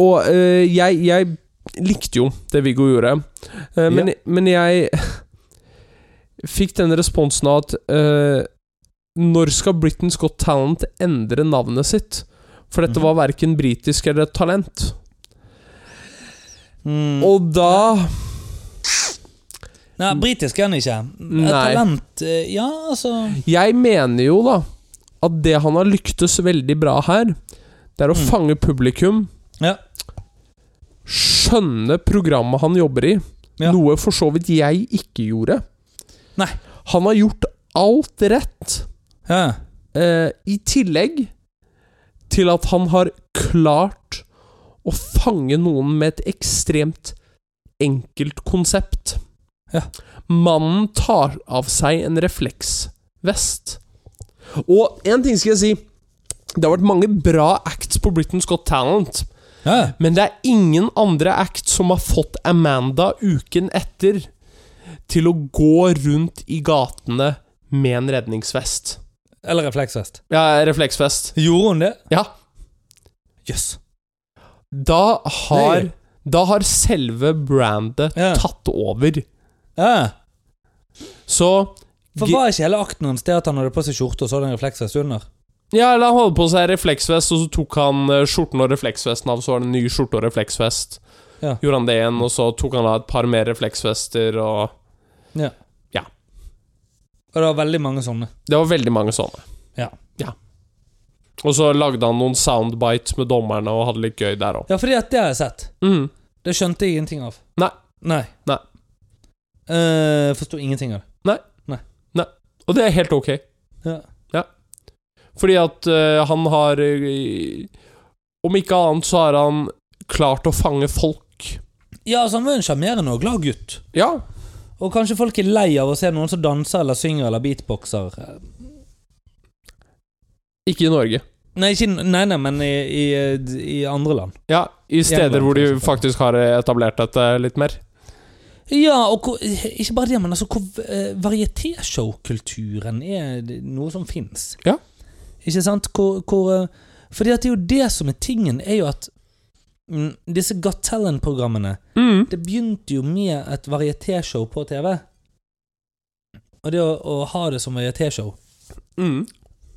S1: Og eh, jeg, jeg likte jo det Viggo gjorde, Eh, men, men jeg fikk den responsen av at eh, Når skal Britain's Got Talent endre navnet sitt? For dette
S2: Mhm.
S1: var verken britisk eller et talent.
S2: Mm.
S1: Og da
S2: Nei, britisk er han ikke. Et
S1: Nei.
S2: talent eh, Ja, altså
S1: Jeg mener jo, da, at det han har lyktes veldig bra her, det er å
S2: Mm.
S1: fange publikum.
S2: Ja.
S1: Skjønne programmet han jobber i.
S2: Ja.
S1: Noe for så vidt jeg ikke gjorde.
S2: Nei.
S1: Han har gjort alt rett,
S2: ja.
S1: eh, i tillegg til at han har klart å fange noen med et ekstremt enkelt konsept.
S2: Ja.
S1: Mannen tar av seg en refleksvest. Og en ting skal jeg si. Det har vært mange bra acts på Britain's Got Talent.
S2: Ja.
S1: Men det er ingen andre act som har fått Amanda uken etter til å gå rundt i gatene med en redningsvest.
S2: Eller refleksvest.
S1: Ja, refleksvest.
S2: Gjorde hun det?
S1: Ja.
S2: Jøss. Yes.
S1: Da
S2: Nei.
S1: har Da har selve brandet
S2: Ja.
S1: tatt over.
S2: Ja.
S1: Så
S2: For
S1: Ge-
S2: var ikke hele akten hans det at han hadde på seg skjorte og så hadde en refleksvest under?
S1: Ja, eller han hadde på seg refleksvest, og så tok han eh, skjorten og refleksvesten av, så var det en ny skjorte og refleksvest.
S2: Ja.
S1: Gjorde han det igjen, og så tok han av et par mer refleksvester, og
S2: Og det var veldig mange sånne.
S1: Det var veldig mange sånne.
S2: Ja.
S1: Og så lagde han noen soundbites med dommerne og hadde litt gøy der òg.
S2: Ja, fordi at det har jeg sett.
S1: Mm.
S2: Det skjønte jeg ingenting av.
S1: Nei.
S2: Nei.
S1: Nei.
S2: Eh, Forsto ingenting av det.
S1: Og det er helt ok.
S2: Ja.
S1: Fordi at eh, han har eh, Om ikke annet så har han klart å fange folk.
S2: Ja, altså Han var en sjarmerende og glad gutt.
S1: Ja.
S2: Og kanskje folk er lei av å se noen som danser eller synger eller beatboxer.
S1: Ikke i Norge.
S2: Nei, ikke, nei, nei men i, i, i andre land.
S1: Ja, I steder
S2: England,
S1: hvor de
S2: for eksempel.
S1: faktisk har eh, etablert dette litt mer.
S2: Ja, og hvor, ikke bare det, men altså hvor eh, varietéshow-kulturen er det- noe som fins.
S1: Ja.
S2: Ikke sant? Hvor, hvor eh, Fordi at det er jo det som er tingen, er jo at mm, disse Got Talent-programmene
S1: Mm.
S2: Det begynte jo med et varietéshow på TV. Og det å, å ha det som varietéshow.
S1: Mm.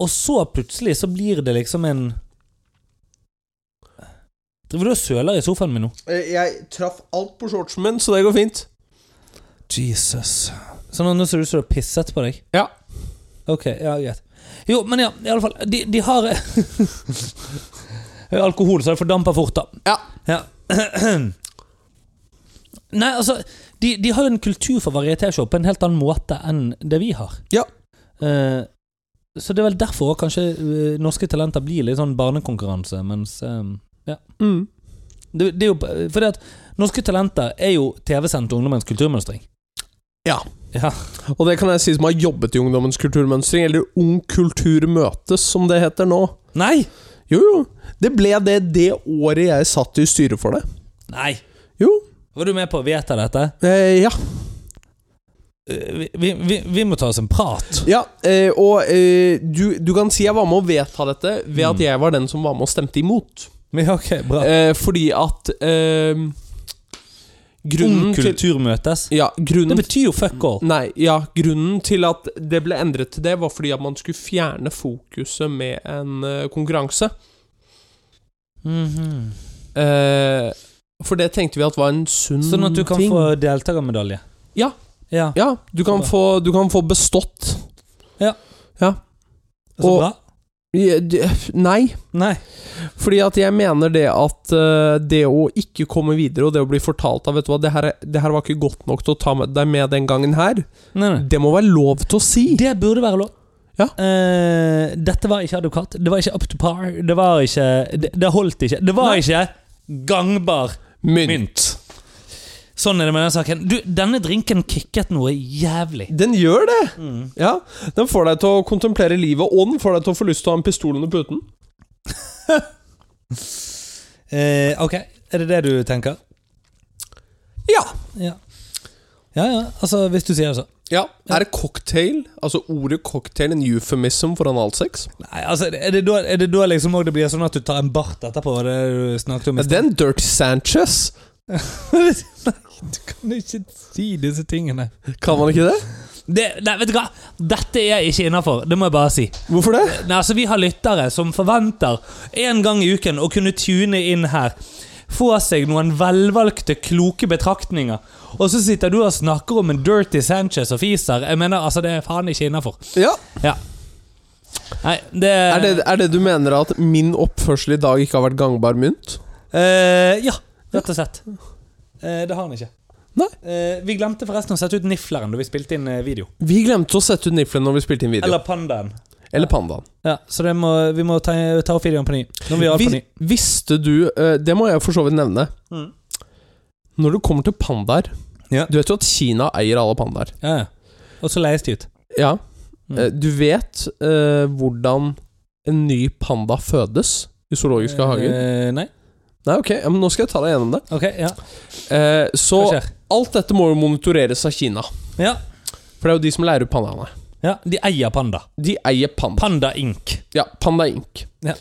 S2: Og så plutselig så blir det liksom en Driver du og søler i sofaen min nå?
S1: Eh, Jeg traff alt på shortsen min, så det går fint.
S2: Jesus. Sånn at nå ser det ut som du har pisset på deg?
S1: Ja.
S2: Ok, ja, greit. Jo, men ja, i alle fall. De, de har Alkohol, så det fordamper fort, da.
S1: Ja.
S2: Nei, altså de, de har jo en kultur for varietéshow på en helt annen måte enn det vi har.
S1: Ja.
S2: Eh, så det er vel derfor også kanskje eh, norske talenter blir litt sånn barnekonkurranse, mens eh,
S1: Mm.
S2: det, det er jo, fordi at Norske Talenter er jo TV-sendt ungdommens kulturmønstring.
S1: Og det kan jeg si som har jobbet i Ungdommens kulturmønstring, eller Ung kultur møtes, som det heter nå.
S2: Nei!
S1: Jo, jo. Det ble det det året jeg satt i styret for det.
S2: Nei!
S1: Jo.
S2: Var du med på å vedta dette?
S1: Eh, ja.
S2: Eh, Vi, vi, vi, vi må ta oss en prat.
S1: ja eh, og eh, du, du kan si jeg var med å vedta dette ved at jeg var den som var med og stemte imot.
S2: Men ja, ok, bra.
S1: Eh, fordi at eh, Grunnen
S2: Ung
S1: til
S2: kultur møtes.
S1: Ja,
S2: Det
S1: grunnen
S2: betyr jo fuck all.
S1: Nei, ja, grunnen til at det ble endret til det, var fordi at man skulle fjerne fokuset med en eh, konkurranse. Mhm. Eh, for det tenkte vi at var en sunn ting.
S2: Sånn at du kan få deltakermedalje.
S1: Ja.
S2: ja.
S1: Ja, du kan få, du kan få bestått.
S2: Så
S1: og-
S2: bra.
S1: Ja, det- Nei,
S2: Nei.
S1: fordi at jeg mener det at eh, det å ikke komme videre, og det å bli fortalt av Vet du hva, det her, er- det her var ikke godt nok til å ta med deg med den gangen her.
S2: nei, nei.
S1: Det må være lov til å si.
S2: Det burde være lov.
S1: Ja.
S2: Eh, dette var ikke advokat. Det var ikke up to par. Det var ikke Det, det holdt ikke. Det var
S1: Nei.
S2: ikke gangbar.
S1: Mynt.
S2: Sånn er det med den saken. Du, denne drinken kicket noe jævlig.
S1: Den gjør det! Ja, Den får deg til å kontemplere livet, og den får deg til å få lyst til å ha en pistol under puten.
S2: Eh, ok, er det det du tenker?
S1: Ja.
S2: Ja. ja ja, altså hvis du sier det så.
S1: ja. Er cocktail, altså ordet cocktail, en euphemism for analsex?
S2: Nei, altså Er det da, er det da liksom også det blir sånn at du tar en bart etterpå? Det du snakket om i sted?
S1: Den Dirty Sanchez,
S2: Nei, du kan ikke si disse tingene.
S1: kan man ikke det?
S2: Det, nei, vet du hva? Dette er ikke innafor. Det må jeg bare si.
S1: Hvorfor det?
S2: Nei, altså Vi har lyttere som forventer en gang i uken å kunne tune inn her. Få seg noen velvalgte, kloke betraktninger. Og så sitter du og snakker om en Dirty Sanchez og fiser. Jeg mener, altså Det er faen ikke innafor.
S1: Ja.
S2: Ja. Nei, det
S1: Er det, er det du mener at min oppførsel i dag ikke har vært gangbar mynt?
S2: Eh, ja, rett og slett. Eh, det har han ikke.
S1: Nei.
S2: Eh, vi glemte forresten å sette ut Nifleren da vi spilte inn eh, video.
S1: Vi glemte å sette ut niflen når vi spilte inn video. Eller,
S2: Eller Pandaen.
S1: pandaen.
S2: Ja, Så det må, vi må ta, ta opp videoen på ny. Når vi har alt på
S1: Vi,
S2: ny.
S1: visste du eh, Det må jeg for så vidt nevne.
S2: Mm.
S1: Når det kommer til pandaer
S2: Ja.
S1: Du vet jo at Kina eier alle pandaer.
S2: Ja, ja. Og så leies de ut.
S1: Ja.
S2: Mm.
S1: Eh, Du vet eh, hvordan en ny panda fødes i zoologiske hager?
S2: Eh, nei.
S1: Nei, ok, ja, men nå skal jeg ta deg gjennom det.
S2: Ok, ja.
S1: Eh, så
S2: Hva skjer?
S1: alt dette må jo monitoreres av Kina.
S2: Ja,
S1: For det er jo de som lærer ut pandaene.
S2: ja. De eier Panda.
S1: De eier Panda.
S2: Panda Inc.
S1: Ja, Panda Inc.
S2: Ja.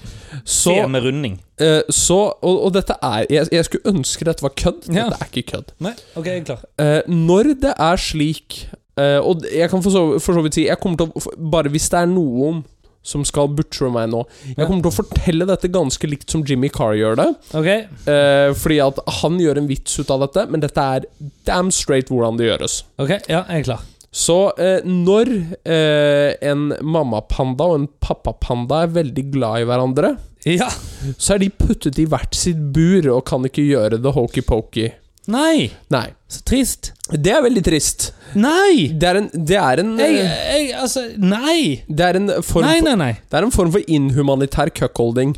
S1: Så,
S2: Se med runding.
S1: eh, så og, og dette er jeg, jeg skulle ønske dette var kødd.
S2: Ja.
S1: Dette er ikke kødd.
S2: Nei, ok, jeg er klar.
S1: Eh, når det er slik eh, Og jeg kan for så, for så vidt si jeg kommer til å, for- Bare hvis det er noen som skal butchere meg nå Jeg
S2: Ja.
S1: kommer til å fortelle dette ganske likt som Jimmy Carr gjør det.
S2: Ok,
S1: Eh, fordi at han gjør en vits ut av dette, men dette er damn straight hvordan det gjøres.
S2: ok, ja, jeg er klar.
S1: Så eh, når eh, en mammapanda og en pappapanda er veldig glad i hverandre,
S2: Ja!
S1: så er de puttet i hvert sitt bur og kan ikke gjøre the hokey-pokey.
S2: Nei!
S1: Nei.
S2: Så trist.
S1: Det er veldig trist.
S2: Nei!
S1: Det er en Det er en,
S2: Jeg,
S1: eh,
S2: jeg Altså, nei!
S1: det er en, form,
S2: Nei,
S1: for,
S2: nei, nei.
S1: det er en form for inhumanitær cuckolding.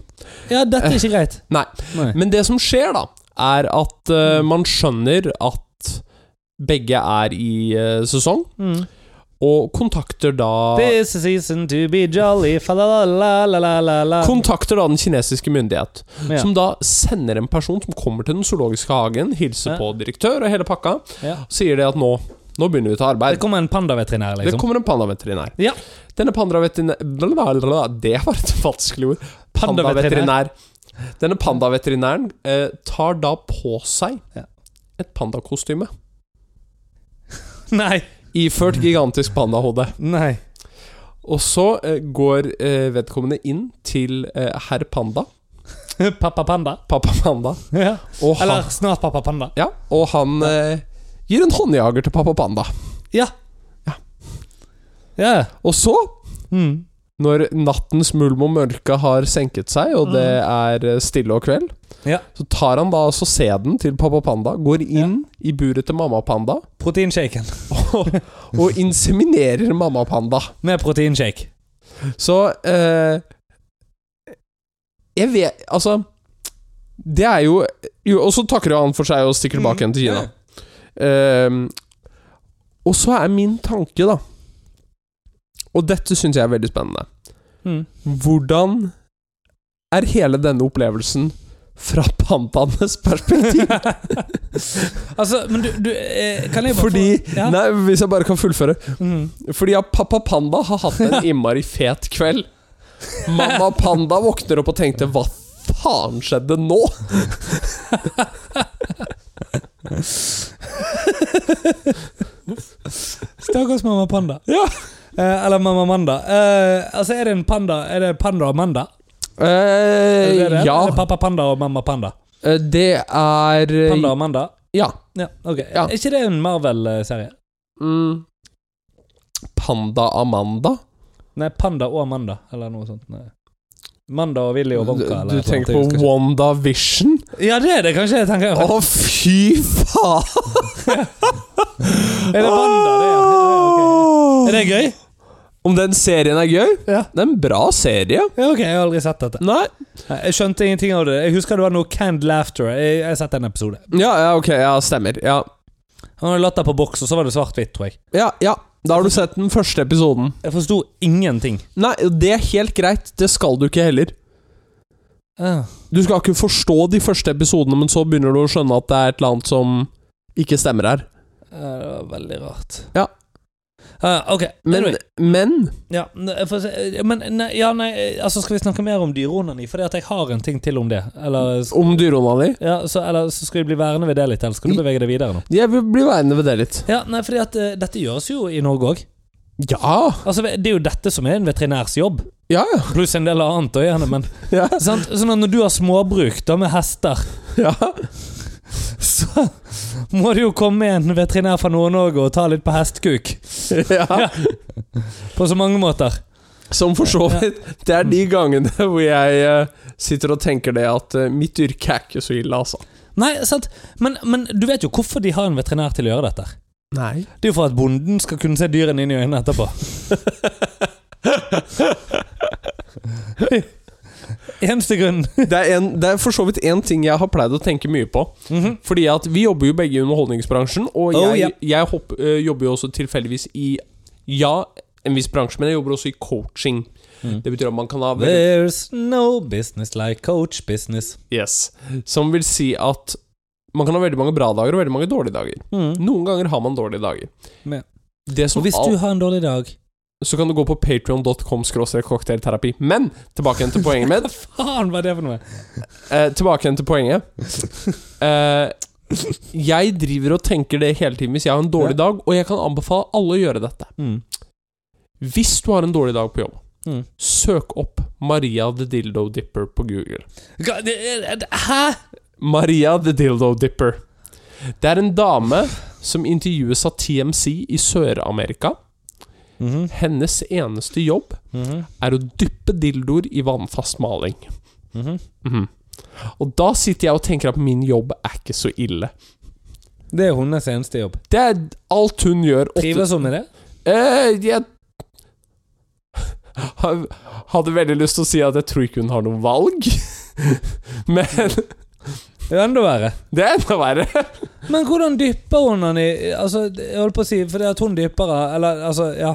S2: Ja, dette er ikke greit.
S1: Nei.
S2: Nei.
S1: Men det som skjer, da, er at eh, man skjønner at begge er i eh, sesong,
S2: Mm.
S1: og kontakter da
S2: This is season to be jolly, fa-la-la-la-la-la-la.
S1: Kontakter da den kinesiske myndighet,
S2: Ja.
S1: som da sender en person som kommer til den zoologiske hagen, hilser
S2: Ja.
S1: på direktør og hele pakka,
S2: Ja.
S1: sier de at nå, nå begynner vi å ta
S2: Det
S1: arbeid.
S2: kommer en pandaveterinær,
S1: Det
S2: liksom.
S1: kommer en pandaveterinær.
S2: Ja.
S1: Denne pandaveterinær blablabla, Det var et vanskelig ord. Pandaveterinær. Denne pandaveterinæren eh, tar da på seg
S2: Ja.
S1: et pandakostyme.
S2: Nei!
S1: Iført gigantisk pandahode.
S2: Nei.
S1: Og så eh, går eh, vedkommende inn til eh, herr Panda,
S2: Pappa Panda.
S1: pappa Panda,
S2: Ja.
S1: og han,
S2: Eller snart Pappa Panda.
S1: ja, og han eh, gir en håndjager til pappa Panda.
S2: Ja.
S1: Ja.
S2: Ja.
S1: Og så,
S2: Mm.
S1: når nattens mulm og mørke har senket seg, og det er eh, stille og kveld,
S2: Ja.
S1: så tar han da altså sæden til pappa Panda, går inn i buret til mamma Panda
S2: Proteinshaken.
S1: og, og inseminerer mamma Panda.
S2: Med proteinshake.
S1: Så eh, Jeg vet Altså Det er jo, jo Og så takker jo han for seg og stikker
S2: Mm.
S1: tilbake igjen til Kina. Ehm, og så er min tanke, da Og dette syns jeg er veldig spennende.
S2: Mm.
S1: Hvordan er hele denne opplevelsen fra pandaenes perspektiv?
S2: altså, men du, du eh, Kan jeg bare
S1: Fordi
S2: få ja?
S1: Nei, hvis jeg bare kan fullføre.
S2: Mm.
S1: Fordi at pappa panda har hatt en innmari fet kveld. Mamma panda våkner opp og tenkte 'hva faen skjedde nå?'
S2: Stakkars mamma panda.
S1: Ja.
S2: Eh, eller mamma Manda. Eh, altså, er det en panda Er det panda og Amanda? Er det
S1: Eh,
S2: det?
S1: ja,
S2: Er det pappa panda og mamma panda?
S1: eh, det er eh,
S2: Panda og Amanda?
S1: Ja.
S2: Ja, ok.
S1: Ja.
S2: Er ikke det en Marvel-serie?
S1: Mm. Panda Amanda?
S2: Nei, Panda og Amanda, eller noe sånt. Nei. Manda og Willy og Wonka.
S1: Du
S2: eller
S1: du
S2: et eller annet,
S1: tenker
S2: jeg husker
S1: på
S2: ikke.
S1: Wanda Vision?
S2: Ja, det er det kanskje jeg tenker.
S1: Å, fy faen!
S2: Er det Wanda, det? Ja. Ja, ok. Er det gøy?
S1: Om den serien er gøy?
S2: Ja.
S1: Det er en bra serie.
S2: Ja, ok, Jeg har aldri sett dette.
S1: Nei
S2: Nei, Jeg skjønte ingenting av det. Jeg husker det var noe Canned Laughter. Jeg, jeg har sett en episode.
S1: Ja, ja, ok, ja, stemmer. Ja.
S2: Han hadde latter på boks, og så var det svart-hvitt, tror jeg.
S1: ja, ja. Da har du sett den første episoden.
S2: Jeg forsto ingenting.
S1: Nei, det er helt greit. Det skal du ikke heller.
S2: Ah.
S1: Du skal ikke forstå de første episodene, men så begynner du å skjønne at det er et eller annet som ikke stemmer her.
S2: Ja, det var veldig rart.
S1: Ja.
S2: Ah, ok,
S1: Men,
S2: anyway.
S1: men
S2: ja, ne- jeg får se- eh, men nei, ja, nei, altså Skal vi snakke mer om dyreonani? Fordi at jeg har en ting til om det. Eller,
S1: om dyreonani
S2: ja, så, eller så skal vi bli værende ved det litt, eller skal
S1: Mm.
S2: du bevege det videre nå?
S1: Jeg vil bli værende ved det litt.
S2: Ja, nei, fordi at eh, Dette gjøres jo i Norge òg.
S1: Ja!
S2: Altså, det er jo dette som er en veterinærs jobb,
S1: Ja,
S2: pluss en del annet. Og gjerne, men,
S1: ja.
S2: sant? Sånn at Når du har småbruk da med hester,
S1: ja.
S2: så må det jo komme en veterinær fra Nord-Norge og ta litt på hestkuk.
S1: ja.
S2: På så mange måter.
S1: Som for så vidt. Det er de gangene hvor jeg eh, sitter og tenker det at eh, mitt yrke er ikke så ille, altså.
S2: Nei, sant? Men, men du vet jo hvorfor de har en veterinær til å gjøre dette.
S1: Nei.
S2: Det er jo for at bonden skal kunne se dyrene inn i øynene etterpå. Eneste grunn.
S1: Det er, en, det er for så vidt én ting jeg har pleid å tenke mye på.
S2: Mhm.
S1: Fordi at vi jobber jo begge i underholdningsbransjen, og jeg, eh,
S2: Oh, ja.
S1: jeg hopp, øh, jobber jo også tilfeldigvis i Ja, en viss bransje, men jeg jobber også i coaching. Det betyr at man kan ha
S2: Mm. There's no business like coach business.
S1: Yes. Som vil si at man kan ha veldig mange bra dager og veldig mange dårlige dager.
S2: Mm.
S1: Noen ganger har man dårlige dager.
S2: Men-
S1: Det
S2: Og
S1: som
S2: hvis du har en dårlig dag
S1: så kan du gå på patreon.com cocktailterapi. Men tilbake igjen til poenget mitt.
S2: Faen, Ah, hva er det for noe?
S1: Eh, tilbake igjen til poenget. Eh, jeg driver og tenker det hele tiden hvis jeg har en dårlig dag, og jeg kan anbefale alle å gjøre dette. Hvis du har en dårlig dag på jobb,
S2: Mm.
S1: søk opp Maria the Dildo Dipper på Google.
S2: Hva- det- det- Hæ?
S1: Maria the Dildo Dipper. Det er en dame som intervjues av TMC i Sør-Amerika.
S2: Mhm.
S1: Hennes eneste jobb er å dyppe dildoer i vannfast maling. Mhm. Og da sitter jeg og tenker at min jobb er ikke så ille.
S2: Det er hennes eneste jobb.
S1: Det er alt hun gjør. åtte-
S2: Trives hun med det?
S1: Eh, jeg Ha- hadde veldig lyst til å si at jeg tror ikke hun har noe valg. Men
S2: Det er enda verre.
S1: det er enda verre.
S2: Men hvordan dypper hun han i Altså, jeg holdt på å si Fordi at hun dypper Eller, altså, ja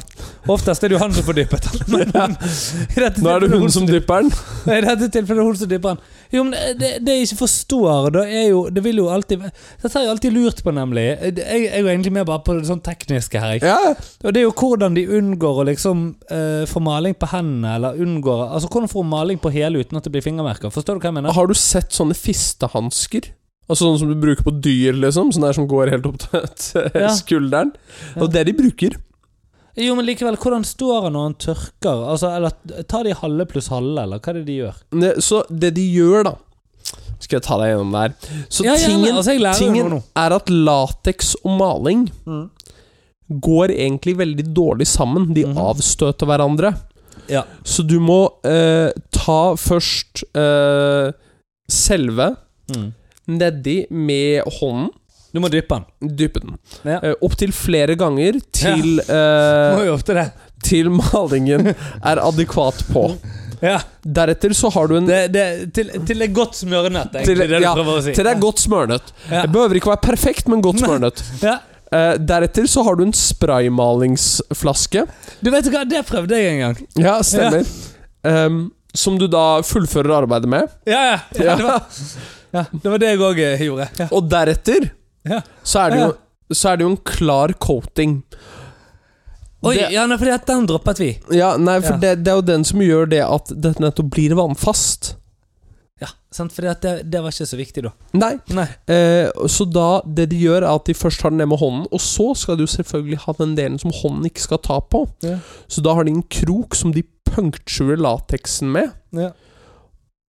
S2: Oftest er det jo han som får dyppet han, men hun- i dette
S1: Nå er det
S2: tilfellet
S1: hun som dypper den.
S2: Nei, I dette tilfellet hun som dypper han Jo, men det, det jeg ikke forstår Da er jo Det vil jo alltid Dette har jeg alltid lurt på nemlig Jeg, jeg er jo egentlig med bare på det sånn tekniske her jeg.
S1: Ja.
S2: Og det er jo hvordan de unngår Å liksom eh, Få maling på hendene Eller unngår Altså, hvordan får hun maling på hele Uten at det blir fingermerker Forstår du hva jeg mener?
S1: Har du sett sånne fistehansker? Altså Sånne som du bruker på dyr, liksom? Sånne der som går helt opp til til
S2: Ja.
S1: skulderen? Det er det de bruker.
S2: Jo, men likevel, hvordan står han når han tørker? Altså, eller tar de halve pluss halve, eller hva er det de gjør?
S1: Ne, Så det de gjør, da Skal jeg ta deg gjennom det her. Så
S2: Ja, gjerne.
S1: tingen,
S2: Altså, jeg lærer jo
S1: tingen
S2: noe nå.
S1: er at lateks og maling
S2: Mm.
S1: går egentlig veldig dårlig sammen. De avstøter hverandre.
S2: Mhm. Ja.
S1: Så du må eh, ta først eh, selve
S2: Mm.
S1: nedi med hånden.
S2: Du må dyppe han.
S1: Dyppe den.
S2: Ja.
S1: Eh, Opptil flere ganger til, eh,
S2: Må jo ofte det.
S1: til malingen er adekvat på.
S2: Ja.
S1: Deretter så har du en
S2: Det, det, til, til det er godt smørnet, egentlig,
S1: Til-
S2: det du
S1: ja,
S2: prøver å si.
S1: Til det er godt smørnet.
S2: Ja.
S1: Det behøver ikke være perfekt, men godt smørnet.
S2: Ja.
S1: Eh, deretter så har du en spraymalingsflaske.
S2: Du vet hva, det prøvde jeg en gang.
S1: Ja, stemmer. Ehm, som du da fullfører arbeidet med.
S2: Ja, ja. ja, det, var, ja det var det jeg òg gjorde. Ja.
S1: Og deretter
S2: Ja.
S1: så er det jo, så er det jo en klar coating.
S2: Oi,
S1: Det-
S2: ja, nei, fordi at den droppet vi.
S1: Ja, nei, for
S2: Ja.
S1: Det, det er jo den som gjør det at dette nettopp blir vannfast.
S2: Ja, sant, fordi at det, det var ikke så viktig da.
S1: Nei.
S2: Nei.
S1: Eh, så da det de gjør, er at de først har den ned med hånden, og så skal du selvfølgelig ha den delen som hånden ikke skal ta på.
S2: Ja.
S1: Så da har de en krok som de puncturer lateksen med,
S2: Ja.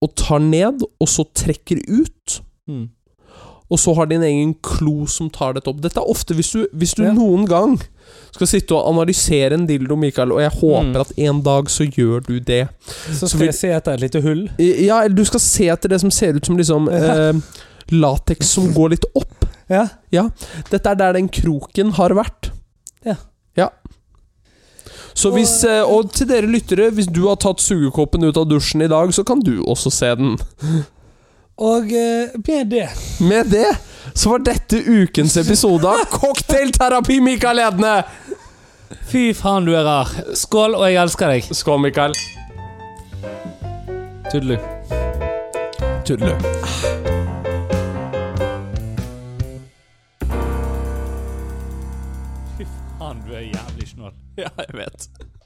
S1: og tar ned, og så trekker ut.
S2: Mm.
S1: Og så har de en egen klo som tar dette opp. Dette er ofte hvis du, hvis du
S2: Ja.
S1: noen gang skal sitte og analysere en dildo, Mikael, og jeg håper
S2: Mm.
S1: at en dag så gjør du det.
S2: Så
S1: Så
S2: skal
S1: vi-
S2: jeg se etter et lite hull.
S1: I- Ja, eller du skal se etter det som ser ut som liksom
S2: Ja.
S1: eh, lateks som går litt opp.
S2: Ja.
S1: Dette er der den kroken har vært.
S2: Ja.
S1: Ja. Så hvis, eh, og til dere lyttere, hvis du har tatt sugekoppen ut av dusjen i dag, så kan du også se den.
S2: Og eh, med det
S1: Med det så var dette ukens episode av Cocktailterapi, Mikael Edne!
S2: Fy faen, du er rar. Skål, og jeg elsker deg.
S1: Skål, Mikael.
S2: Tudelu.
S1: Tudelu.
S2: Fy faen, du er jævlig snål.
S1: Ja, jeg vet.